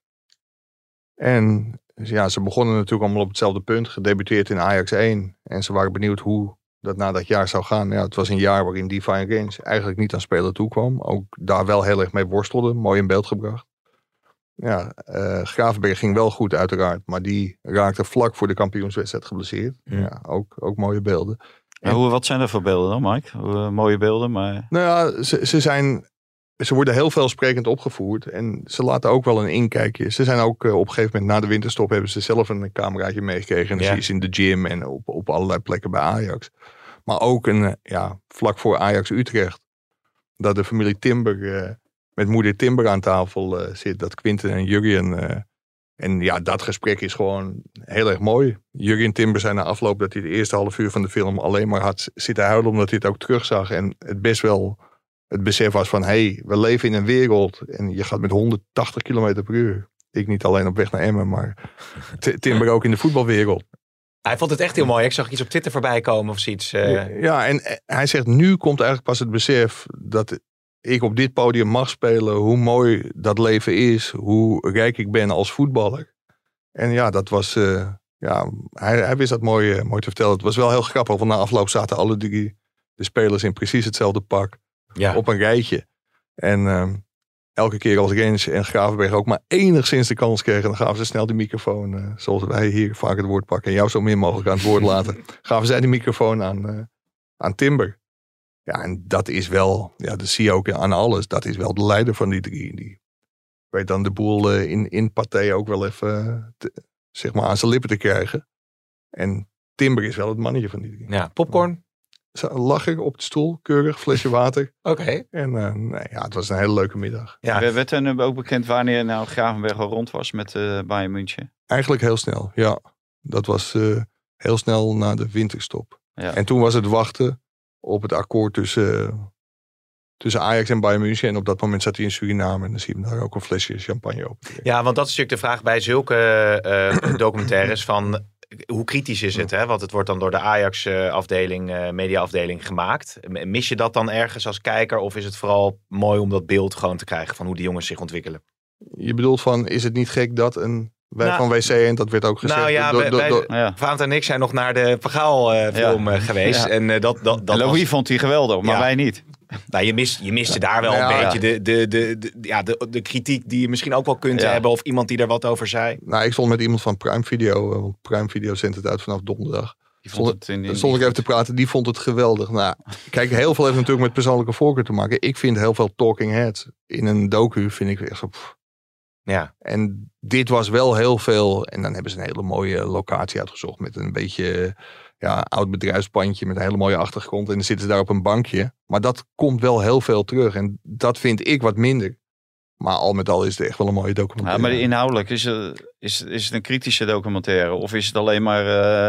[SPEAKER 5] En ja, ze begonnen natuurlijk allemaal op hetzelfde punt. Gedebuteerd in Ajax 1. En ze waren benieuwd hoe dat na dat jaar zou gaan. Ja, het was een jaar waarin Divine Range eigenlijk niet aan spelen toekwam. Ook daar wel heel erg mee worstelde. Mooi in beeld gebracht. Ja, eh Gravenberg ging wel goed uiteraard. Maar die raakte vlak voor de kampioenswedstrijd geblesseerd.
[SPEAKER 3] Hmm.
[SPEAKER 5] Ja, ook, ook mooie beelden.
[SPEAKER 4] Maar hoe, wat zijn er voor beelden dan, Mike? Hoe, eh, mooie beelden, maar
[SPEAKER 5] Nou ja, ze, ze zijn... Ze worden heel veelsprekend opgevoerd. En ze laten ook wel een inkijkje. Ze zijn ook eh, op een gegeven moment na de winterstop... hebben ze zelf een cameraatje meegekregen. En dan
[SPEAKER 3] Ja.
[SPEAKER 5] zie je ze in de gym en op, op allerlei plekken bij Ajax. Maar ook een, eh, ja, vlak voor Ajax-Utrecht... dat de familie Timber... eh, met moeder Timber aan tafel eh, zit. Dat Quinten en Jurgen... eh, en ja, dat gesprek is gewoon heel erg mooi. Jurgen Timber zei na afloop dat hij de eerste half uur van de film alleen maar had zitten huilen. Omdat hij het ook terugzag. En het best wel het besef was van... hé, hey, we leven in een wereld en je gaat met 180 km per uur. Ik niet alleen op weg naar Emmen, maar T- Timber ook in de voetbalwereld.
[SPEAKER 3] Hij vond het echt heel mooi. Ik zag iets op Twitter voorbij komen of zoiets. eh.
[SPEAKER 5] Ja, en eh, hij zegt nu komt eigenlijk pas het besef dat ik op dit podium mag spelen. Hoe mooi dat leven is, hoe rijk ik ben als voetballer. En ja, dat was... eh, ja, hij, hij wist dat mooi, eh, mooi te vertellen. Het was wel heel grappig, want na afloop zaten alle drie de spelers in precies hetzelfde pak
[SPEAKER 3] ja.
[SPEAKER 5] op een rijtje. En ehm, elke keer als Rens en Gravenberg ook maar enigszins de kans kregen, dan gaven ze snel die microfoon, eh, zoals wij hier vaak het woord pakken en jou zo min mogelijk aan het woord laten, gaven zij die microfoon aan, eh, aan Timber. Ja, en dat is wel, ja, dat zie je ook aan alles, dat is wel de leider van die drie. Die weet dan de boel eh, in, in Pathé ook wel even eh, te- zeg maar aan zijn lippen te krijgen. En Timber is wel het mannetje van die drie.
[SPEAKER 3] ja. Popcorn.
[SPEAKER 5] Lachen op de stoel, keurig, flesje water.
[SPEAKER 3] Oké.
[SPEAKER 5] En eh, nee, ja, het was een hele leuke middag.
[SPEAKER 3] Ja.
[SPEAKER 4] we werd er ook bekend wanneer nou Gravenberg al rond was met eh Bayern München.
[SPEAKER 5] Eigenlijk heel snel, ja. Dat was eh, heel snel na de winterstop.
[SPEAKER 4] Ja.
[SPEAKER 5] En toen was het wachten op het akkoord tussen, eh, tussen Ajax en Bayern München. En op dat moment zat hij in Suriname. En dan zie je hem daar ook een flesje champagne op.
[SPEAKER 3] Ja, want dat is natuurlijk de vraag bij zulke eh, documentaires van eh, hoe kritisch is het? Hè? Want het wordt dan door de Ajax-afdeling, eh, mediaafdeling gemaakt. M- Mis je dat dan ergens als kijker? Of is het vooral mooi om dat beeld gewoon te krijgen van hoe die jongens zich ontwikkelen?
[SPEAKER 5] Je bedoelt van, is het niet gek dat een... Wij
[SPEAKER 3] Nou-
[SPEAKER 5] van WC en dat werd ook gezegd.
[SPEAKER 3] nou ja,
[SPEAKER 5] door-
[SPEAKER 3] wij-
[SPEAKER 5] door-
[SPEAKER 3] wij-
[SPEAKER 5] door-
[SPEAKER 4] Ja.
[SPEAKER 3] Vaant en ik zijn nog naar de Pagaal-film geweest.
[SPEAKER 4] Ja.
[SPEAKER 3] En eh, dat, dat, dat
[SPEAKER 4] En Louis
[SPEAKER 3] was-
[SPEAKER 4] vond hij geweldig, maar
[SPEAKER 3] Ja.
[SPEAKER 4] wij niet.
[SPEAKER 3] nou, je, mist, je miste daar wel
[SPEAKER 5] Ja,
[SPEAKER 3] een
[SPEAKER 5] ja.
[SPEAKER 3] beetje de, de, de, de- ja, de, de kritiek die je misschien ook wel kunt
[SPEAKER 4] Ja.
[SPEAKER 3] hebben. Of iemand die er wat over zei.
[SPEAKER 5] nou, ik stond met iemand van Prime Video. eh, Want Prime Video zendt het uit vanaf donderdag.
[SPEAKER 4] Die vond het in, in-
[SPEAKER 5] Dan stond ik even te praten, die vond het geweldig. Nou, kijk, heel veel heeft natuurlijk met persoonlijke voorkeur te maken. Ik vind heel veel talking heads in een docu, vind ik echt zo, pff,
[SPEAKER 3] Ja.
[SPEAKER 5] En dit was wel heel veel. En dan hebben ze een hele mooie locatie uitgezocht. Met een beetje ja, oud bedrijfspandje. Met een hele mooie achtergrond. En dan zitten ze daar op een bankje. Maar dat komt wel heel veel terug. En dat vind ik wat minder. Maar al met al is het echt wel een mooie
[SPEAKER 4] Ja,
[SPEAKER 5] documentaire.
[SPEAKER 4] maar inhoudelijk, is, het- is, is het een kritische documentaire? Of is het alleen maar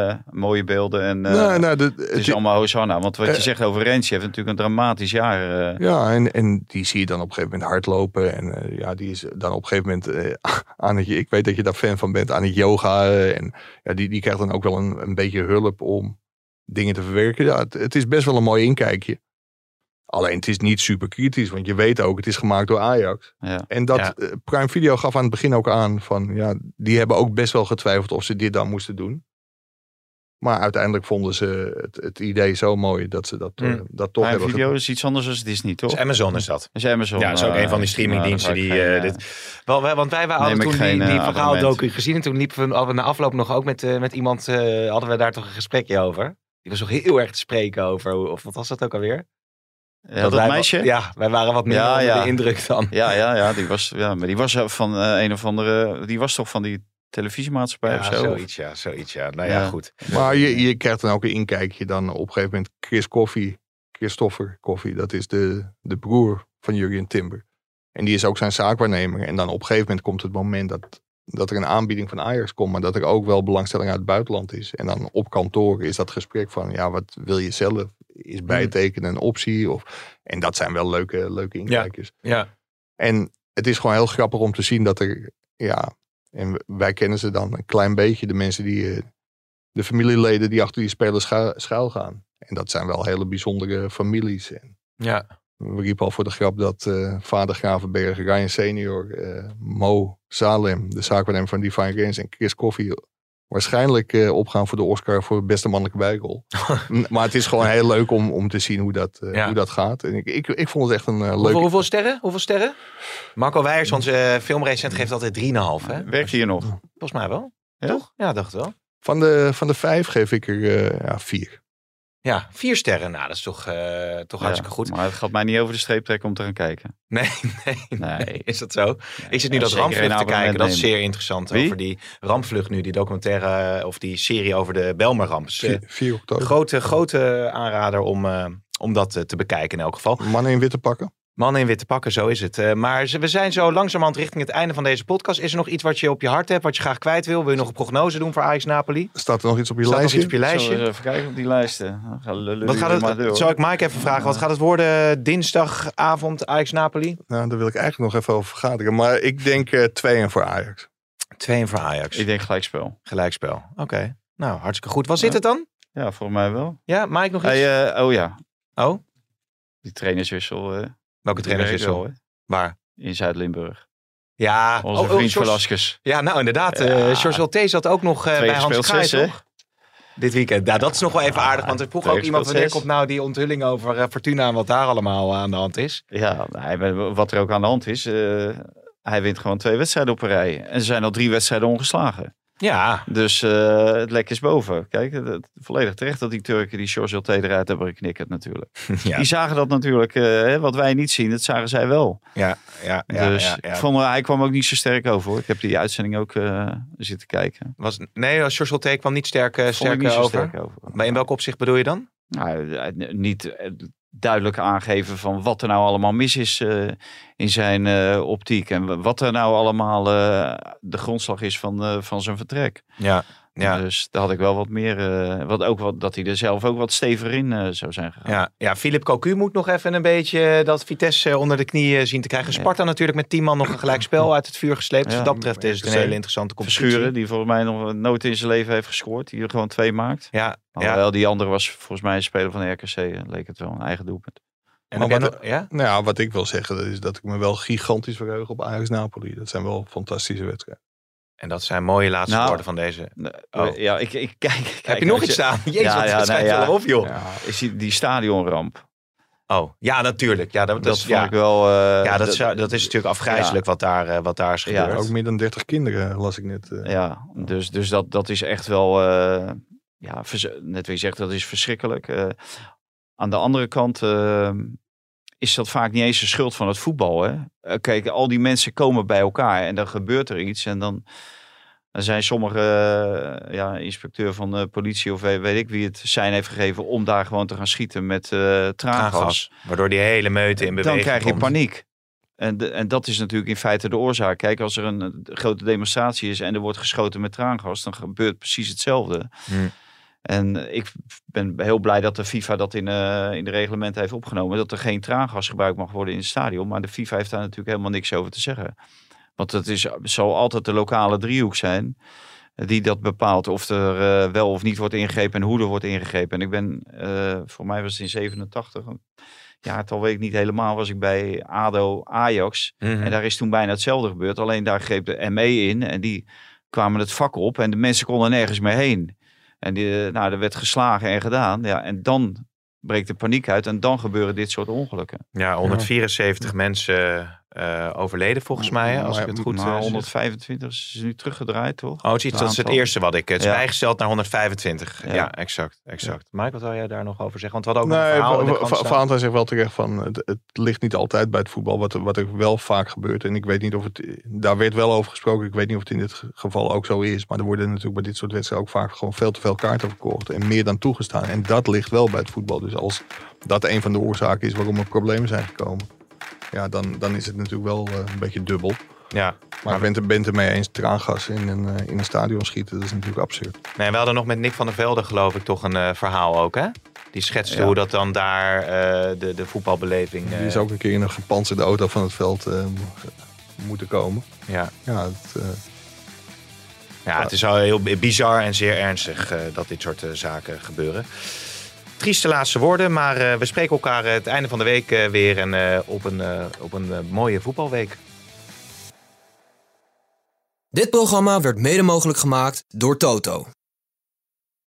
[SPEAKER 4] eh, mooie beelden en eh,
[SPEAKER 5] nou, nou, de-
[SPEAKER 4] het is allemaal Hosanna? Want wat je
[SPEAKER 5] Eh.
[SPEAKER 4] zegt over Rens, heeft natuurlijk een dramatisch jaar. eh,
[SPEAKER 5] Ja, en, en die zie je dan op een gegeven moment hardlopen. En eh, ja, die is dan op een gegeven moment eh, aan het, ik weet dat je daar fan van bent, aan het yoga. eh, en ja, die, die krijgt dan ook wel een, een beetje hulp om dingen te verwerken. Ja, het, het is best wel een mooi inkijkje. Alleen het is niet super kritisch, want je weet ook, het is gemaakt door Ajax.
[SPEAKER 4] ja.
[SPEAKER 5] En dat
[SPEAKER 3] Ja.
[SPEAKER 5] eh, Prime Video gaf aan het begin ook aan van, ja, die hebben ook best wel getwijfeld of ze dit dan moesten doen. Maar uiteindelijk vonden ze het, het idee zo mooi dat ze dat, eh,
[SPEAKER 3] Mm.
[SPEAKER 5] dat toch
[SPEAKER 4] Prime
[SPEAKER 5] hebben
[SPEAKER 4] video is iets anders dan Disney, toch?
[SPEAKER 3] Dus Amazon is dat.
[SPEAKER 4] Is Amazon.
[SPEAKER 3] Ja, dat is ook
[SPEAKER 4] eh,
[SPEAKER 3] een van die streamingdiensten
[SPEAKER 4] nou,
[SPEAKER 3] die...
[SPEAKER 4] dat ga ik
[SPEAKER 3] eh,
[SPEAKER 4] geen,
[SPEAKER 3] dit, wel, wij- want wij waren
[SPEAKER 4] Neem
[SPEAKER 3] hadden
[SPEAKER 4] ik
[SPEAKER 3] toen
[SPEAKER 4] geen,
[SPEAKER 3] die,
[SPEAKER 4] eh,
[SPEAKER 3] die
[SPEAKER 4] abonnement.
[SPEAKER 3] verhaaldocu gezien. En toen liepen we hadden we na afloop nog ook met, eh, met iemand... eh, hadden we daar toch een gesprekje over. Die was toch heel erg te spreken over. hoe- Of wat was dat ook alweer?
[SPEAKER 4] eh, ja, dat
[SPEAKER 3] wij,
[SPEAKER 4] meisje? Ja.
[SPEAKER 3] Ja, wij waren wat meer
[SPEAKER 4] Ja,
[SPEAKER 3] onder
[SPEAKER 4] ja.
[SPEAKER 3] de indruk dan.
[SPEAKER 4] Ja, ja, die was, ja, maar die was eh, van eh, een of andere, die was toch van die televisiemaatschappij of
[SPEAKER 3] Ja,
[SPEAKER 4] zo?
[SPEAKER 3] zoiets, ja, zoiets, ja. Nou ja,
[SPEAKER 4] Ja.
[SPEAKER 3] goed.
[SPEAKER 5] Maar je, je krijgt dan ook een inkijkje dan op een gegeven moment Chris Koffie, Christopher Koffie, dat is de, de broer van Jurgen Timber. En die is ook zijn zaakwaarnemer. En dan op een gegeven moment komt het moment dat, dat er een aanbieding van Ajax komt, maar dat er ook wel belangstelling uit het buitenland is. En dan op kantoor is dat gesprek van, ja, wat wil je zelf? Is bijtekenen een optie? Of, en dat zijn wel leuke, leuke inkijkjes.
[SPEAKER 3] Ja.
[SPEAKER 5] En het is gewoon heel grappig om te zien dat er, ja, en wij kennen ze dan een klein beetje, de mensen die, eh, de familieleden die achter die spelers schuil, schuil gaan. En dat zijn wel hele bijzondere families. En
[SPEAKER 3] Ja.
[SPEAKER 5] we riepen al voor de grap dat eh, vader Gravenberg, Ryan Senior, eh, Mo Salem, de zaakwaarnemer van Divine Games en Chris Coffee waarschijnlijk eh, opgaan voor de Oscar voor beste mannelijke bijrol. N- maar het is gewoon heel leuk om, om te zien hoe dat, eh,
[SPEAKER 3] Ja.
[SPEAKER 5] hoe dat gaat. En ik, ik, ik vond het echt een eh,
[SPEAKER 3] Hoeveel,
[SPEAKER 5] leuke...
[SPEAKER 3] hoeveel sterren? Hoeveel sterren? Marco Weijers, onze filmrecent, geeft altijd 3,5. Hè?
[SPEAKER 4] Werkt hier nog?
[SPEAKER 3] Volgens mij wel.
[SPEAKER 4] Ja?
[SPEAKER 3] Toch? Ja, dacht het wel.
[SPEAKER 5] Van de, van de vijf geef ik er eh, ja, vier.
[SPEAKER 3] Ja, vier sterren. Nou, dat is toch, eh, toch hartstikke
[SPEAKER 4] Ja,
[SPEAKER 3] goed.
[SPEAKER 4] Maar het gaat mij niet over de streep trekken om te gaan kijken.
[SPEAKER 3] Nee, nee,
[SPEAKER 4] Nee.
[SPEAKER 3] Is dat zo? Ik zit nu
[SPEAKER 4] Ja,
[SPEAKER 3] dat
[SPEAKER 4] zeker
[SPEAKER 3] rampvlucht
[SPEAKER 4] een
[SPEAKER 3] te kijken. Dat is
[SPEAKER 4] abonnement
[SPEAKER 3] zeer interessant.
[SPEAKER 4] Wie?
[SPEAKER 3] Over die rampvlucht nu, die documentaire eh, of die serie over de Belmerramp. Dus, eh,
[SPEAKER 5] Vier, vier oktober.
[SPEAKER 3] grote, grote aanrader om, eh, om dat eh, te bekijken in elk geval.
[SPEAKER 5] Mannen in witte pakken.
[SPEAKER 3] Mannen in witte pakken, zo is het. Eh, maar ze- we zijn zo langzamerhand richting het einde van deze podcast. Is er nog iets wat je op je hart hebt, wat je graag kwijt wil? Wil je nog een prognose doen voor Ajax Napoli?
[SPEAKER 5] Staat er nog iets op je
[SPEAKER 3] Staat nog
[SPEAKER 5] lijstje?
[SPEAKER 3] iets op je
[SPEAKER 4] Zullen we
[SPEAKER 3] lijstje?
[SPEAKER 4] eens even kijken op die lijsten? Dan gaan
[SPEAKER 3] Wat
[SPEAKER 4] lullen jullie
[SPEAKER 3] gaat
[SPEAKER 4] maar
[SPEAKER 3] het,
[SPEAKER 4] door.
[SPEAKER 3] zal ik Mike even vragen, wat gaat het worden dinsdagavond Ajax Napoli?
[SPEAKER 5] Nou, daar wil ik eigenlijk nog even over vergaderen. Maar ik denk eh twee en voor Ajax.
[SPEAKER 3] 2 voor Ajax.
[SPEAKER 4] Ik denk gelijkspel.
[SPEAKER 3] Gelijkspel. Oké. Nou, hartstikke goed. Wat zit
[SPEAKER 4] Ja.
[SPEAKER 3] het dan?
[SPEAKER 4] Ja, volgens mij wel.
[SPEAKER 3] Ja, Mike nog iets?
[SPEAKER 4] Hey, eh, oh ja,
[SPEAKER 3] oh,
[SPEAKER 4] die trainerswissel. eh,
[SPEAKER 3] welke
[SPEAKER 4] die
[SPEAKER 3] trainer is
[SPEAKER 4] werkt wel,
[SPEAKER 3] zo? Waar?
[SPEAKER 4] In Zuid-Limburg.
[SPEAKER 3] Ja,
[SPEAKER 4] Onze
[SPEAKER 3] oh, oh,
[SPEAKER 4] vriend
[SPEAKER 3] George-
[SPEAKER 4] Velasquez.
[SPEAKER 3] Ja, nou inderdaad. eh
[SPEAKER 4] Ja.
[SPEAKER 3] George Ulte zat ook nog eh, bij
[SPEAKER 4] Tweede
[SPEAKER 3] Hans
[SPEAKER 4] speelt
[SPEAKER 3] Kraai,
[SPEAKER 4] zes, hè?
[SPEAKER 3] toch? Dit weekend. Nou, dat is nog wel even aardig. Want er vroeg
[SPEAKER 4] Tweede
[SPEAKER 3] ook iemand
[SPEAKER 4] speelt
[SPEAKER 3] wanneer
[SPEAKER 4] zes.
[SPEAKER 3] komt nou die onthulling over eh, Fortuna en wat daar allemaal eh, aan de hand is.
[SPEAKER 4] Ja, nee, maar wat er ook aan de hand is. eh, hij wint gewoon twee wedstrijden op een rij. En ze zijn al drie wedstrijden ongeslagen.
[SPEAKER 3] Ja,
[SPEAKER 4] Dus eh, het lek is boven. Kijk, het, het- volledig terecht dat die Turken die George Ulte eruit hebben geknikkerd natuurlijk.
[SPEAKER 3] ja,
[SPEAKER 4] Die zagen dat natuurlijk, eh, hè, wat wij niet zien, dat zagen zij wel.
[SPEAKER 3] ja, ja. ja,
[SPEAKER 4] dus
[SPEAKER 3] ja,
[SPEAKER 4] ik
[SPEAKER 3] ja.
[SPEAKER 4] vond, eh, hij kwam ook niet zo sterk over. Hoor. Ik heb die uitzending ook eh, zitten kijken.
[SPEAKER 3] Was, nee, als George Ulte kwam niet sterk, eh,
[SPEAKER 4] Vond ik
[SPEAKER 3] sterk
[SPEAKER 4] niet
[SPEAKER 3] eh,
[SPEAKER 4] zo
[SPEAKER 3] over.
[SPEAKER 4] sterk over.
[SPEAKER 3] Maar in welk opzicht bedoel je dan?
[SPEAKER 4] Nou, eh, niet eh, duidelijk aangeven van wat er nou allemaal mis is eh, in zijn eh, optiek. En w- wat er nou allemaal eh, de grondslag is van, eh, van zijn vertrek.
[SPEAKER 3] Ja, ja.
[SPEAKER 4] Dus daar had ik wel wat meer. eh, wat ook wat, dat hij er zelf ook wat steviger in eh, zou zijn gegaan.
[SPEAKER 3] Ja, ja, Philip Cocu moet nog even een beetje eh, dat Vitesse onder de knieën zien te krijgen. Sparta natuurlijk met 10 man nog een gelijk spel uit het vuur gesleept. Dus
[SPEAKER 4] Ja,
[SPEAKER 3] wat dat betreft is het een
[SPEAKER 4] zeker.
[SPEAKER 3] hele interessante competitie.
[SPEAKER 4] Verschuren, die volgens mij nog nooit in zijn leven heeft gescoord. Die er gewoon twee maakt.
[SPEAKER 3] Ja, ja.
[SPEAKER 4] Alhoewel, die andere was volgens mij een speler van de RKC. eh, Leek het wel, een eigen doelpunt.
[SPEAKER 3] En
[SPEAKER 5] Maar
[SPEAKER 3] dan
[SPEAKER 5] wat-
[SPEAKER 3] ben- ja?
[SPEAKER 5] Nou ja, wat ik wil zeggen dat is dat ik me wel gigantisch verheug op Ajax-Napoli. Dat zijn wel fantastische wedstrijden.
[SPEAKER 3] En dat zijn mooie laatste
[SPEAKER 4] Nou,
[SPEAKER 3] woorden van deze.
[SPEAKER 4] Eh, Ja, ik, ik kijk, kijk.
[SPEAKER 3] Oh. Heb je nog
[SPEAKER 4] als
[SPEAKER 3] iets staan? Jezus,
[SPEAKER 4] Ja,
[SPEAKER 3] wat
[SPEAKER 4] ja,
[SPEAKER 3] het schijnt
[SPEAKER 4] nou ja.
[SPEAKER 3] wel op, joh.
[SPEAKER 5] Ja,
[SPEAKER 4] Is die, die stadionramp.
[SPEAKER 3] Oh, ja, natuurlijk. Ja, dat, dat
[SPEAKER 4] Dat
[SPEAKER 3] is,
[SPEAKER 4] vond
[SPEAKER 3] ja.
[SPEAKER 4] ik wel. eh,
[SPEAKER 3] ja, dat, is, dat is natuurlijk afgrijzelijk wat, daar, eh, wat daar is
[SPEAKER 4] Ja.
[SPEAKER 3] gebeurd.
[SPEAKER 5] ook meer dan 30 kinderen las ik net. eh.
[SPEAKER 4] Ja, dus, dus dat, dat is echt wel. eh, ja, vers- net wie zegt, dat is verschrikkelijk. Eh, aan de andere kant eh, is dat vaak niet eens de schuld van het voetbal. Hè? Eh, Kijk, al die mensen komen bij elkaar en dan gebeurt er iets. En dan, dan zijn sommige eh, ja, inspecteur van de politie of weet, weet ik wie het zijn heeft gegeven om daar gewoon te gaan schieten met eh traangas.
[SPEAKER 3] Traangas. Waardoor die hele meute in beweging
[SPEAKER 4] Dan krijg je
[SPEAKER 3] komt.
[SPEAKER 4] paniek. En, de- en dat is natuurlijk in feite de oorzaak. Kijk, als er een eh, grote demonstratie is en er wordt geschoten met traangas, dan gebeurt precies hetzelfde.
[SPEAKER 3] Hmm.
[SPEAKER 4] En eh, ik ben heel blij dat de FIFA dat in, eh, in de reglementen heeft opgenomen. Dat er geen traangas gebruikt mag worden in het stadion. Maar de FIFA heeft daar natuurlijk helemaal niks over te zeggen. Want het is, zal altijd de lokale driehoek zijn die dat bepaalt of er eh, wel of niet wordt ingegrepen en hoe er wordt ingegrepen. En ik ben, eh, voor mij was het in 87, een jaartal weet ik niet helemaal, was ik bij ADO Ajax.
[SPEAKER 3] Mhm.
[SPEAKER 4] En daar is toen bijna hetzelfde gebeurd. Alleen daar greep de ME in en die kwamen het vak op en de mensen konden nergens meer heen. En die, eh, nou, er werd geslagen en gedaan. Ja, en dan breekt de paniek uit en dan gebeuren dit soort ongelukken.
[SPEAKER 3] Ja, 174 mensen eh, overleden volgens mij, hè, als ik het goed eh,
[SPEAKER 4] Maar
[SPEAKER 3] zeg.
[SPEAKER 4] 125 is nu teruggedraaid, toch?
[SPEAKER 3] Oh, het is iets, dat is het
[SPEAKER 4] Aantal.
[SPEAKER 3] eerste wat ik. Het is
[SPEAKER 4] Ja.
[SPEAKER 3] bijgesteld naar 125. Ja,
[SPEAKER 4] Ja.
[SPEAKER 3] exact. exact. Mike, wat wil jij daar nog over zeggen? Want we hadden ook nog een
[SPEAKER 5] Nee,
[SPEAKER 3] verhaal in de
[SPEAKER 5] Va-
[SPEAKER 3] krant
[SPEAKER 5] Va-
[SPEAKER 3] staan.
[SPEAKER 5] Valentijn zegt wel terecht van het, het ligt niet altijd bij het voetbal wat, er- wat er wel vaak gebeurt. En ik weet niet of het, daar werd wel over gesproken, ik weet niet of het in dit ge- geval ook zo is. Maar er worden natuurlijk bij dit soort wedstrijden ook vaak gewoon veel te veel kaarten verkocht en meer dan toegestaan. En dat ligt wel bij het voetbal. Dus als dat een van de oorzaken is waarom er problemen zijn gekomen, ja, dan, dan is het natuurlijk wel eh, een beetje dubbel.
[SPEAKER 3] Ja.
[SPEAKER 5] Maar ik ben het- ben het ermee eens, traangas in een, eh, in een stadion schieten, dat is natuurlijk absurd.
[SPEAKER 3] Nee, we hadden nog met Nick van der Velde, geloof ik, toch een eh, verhaal ook, hè? Die schetste
[SPEAKER 4] Ja.
[SPEAKER 3] hoe dat dan daar eh, de, de voetbalbeleving... eh,
[SPEAKER 5] Die is ook een keer in een gepantserde auto van het veld eh, moeten komen.
[SPEAKER 3] ja.
[SPEAKER 5] Ja, het, eh,
[SPEAKER 3] ja, het is al heel bi- bizar en zeer ernstig eh, dat dit soort eh, zaken gebeuren. Trieste laatste woorden, maar eh, we spreken elkaar eh, het einde van de week eh, weer en eh, op een, eh, op een eh, mooie voetbalweek.
[SPEAKER 1] Dit programma werd mede mogelijk gemaakt door Toto.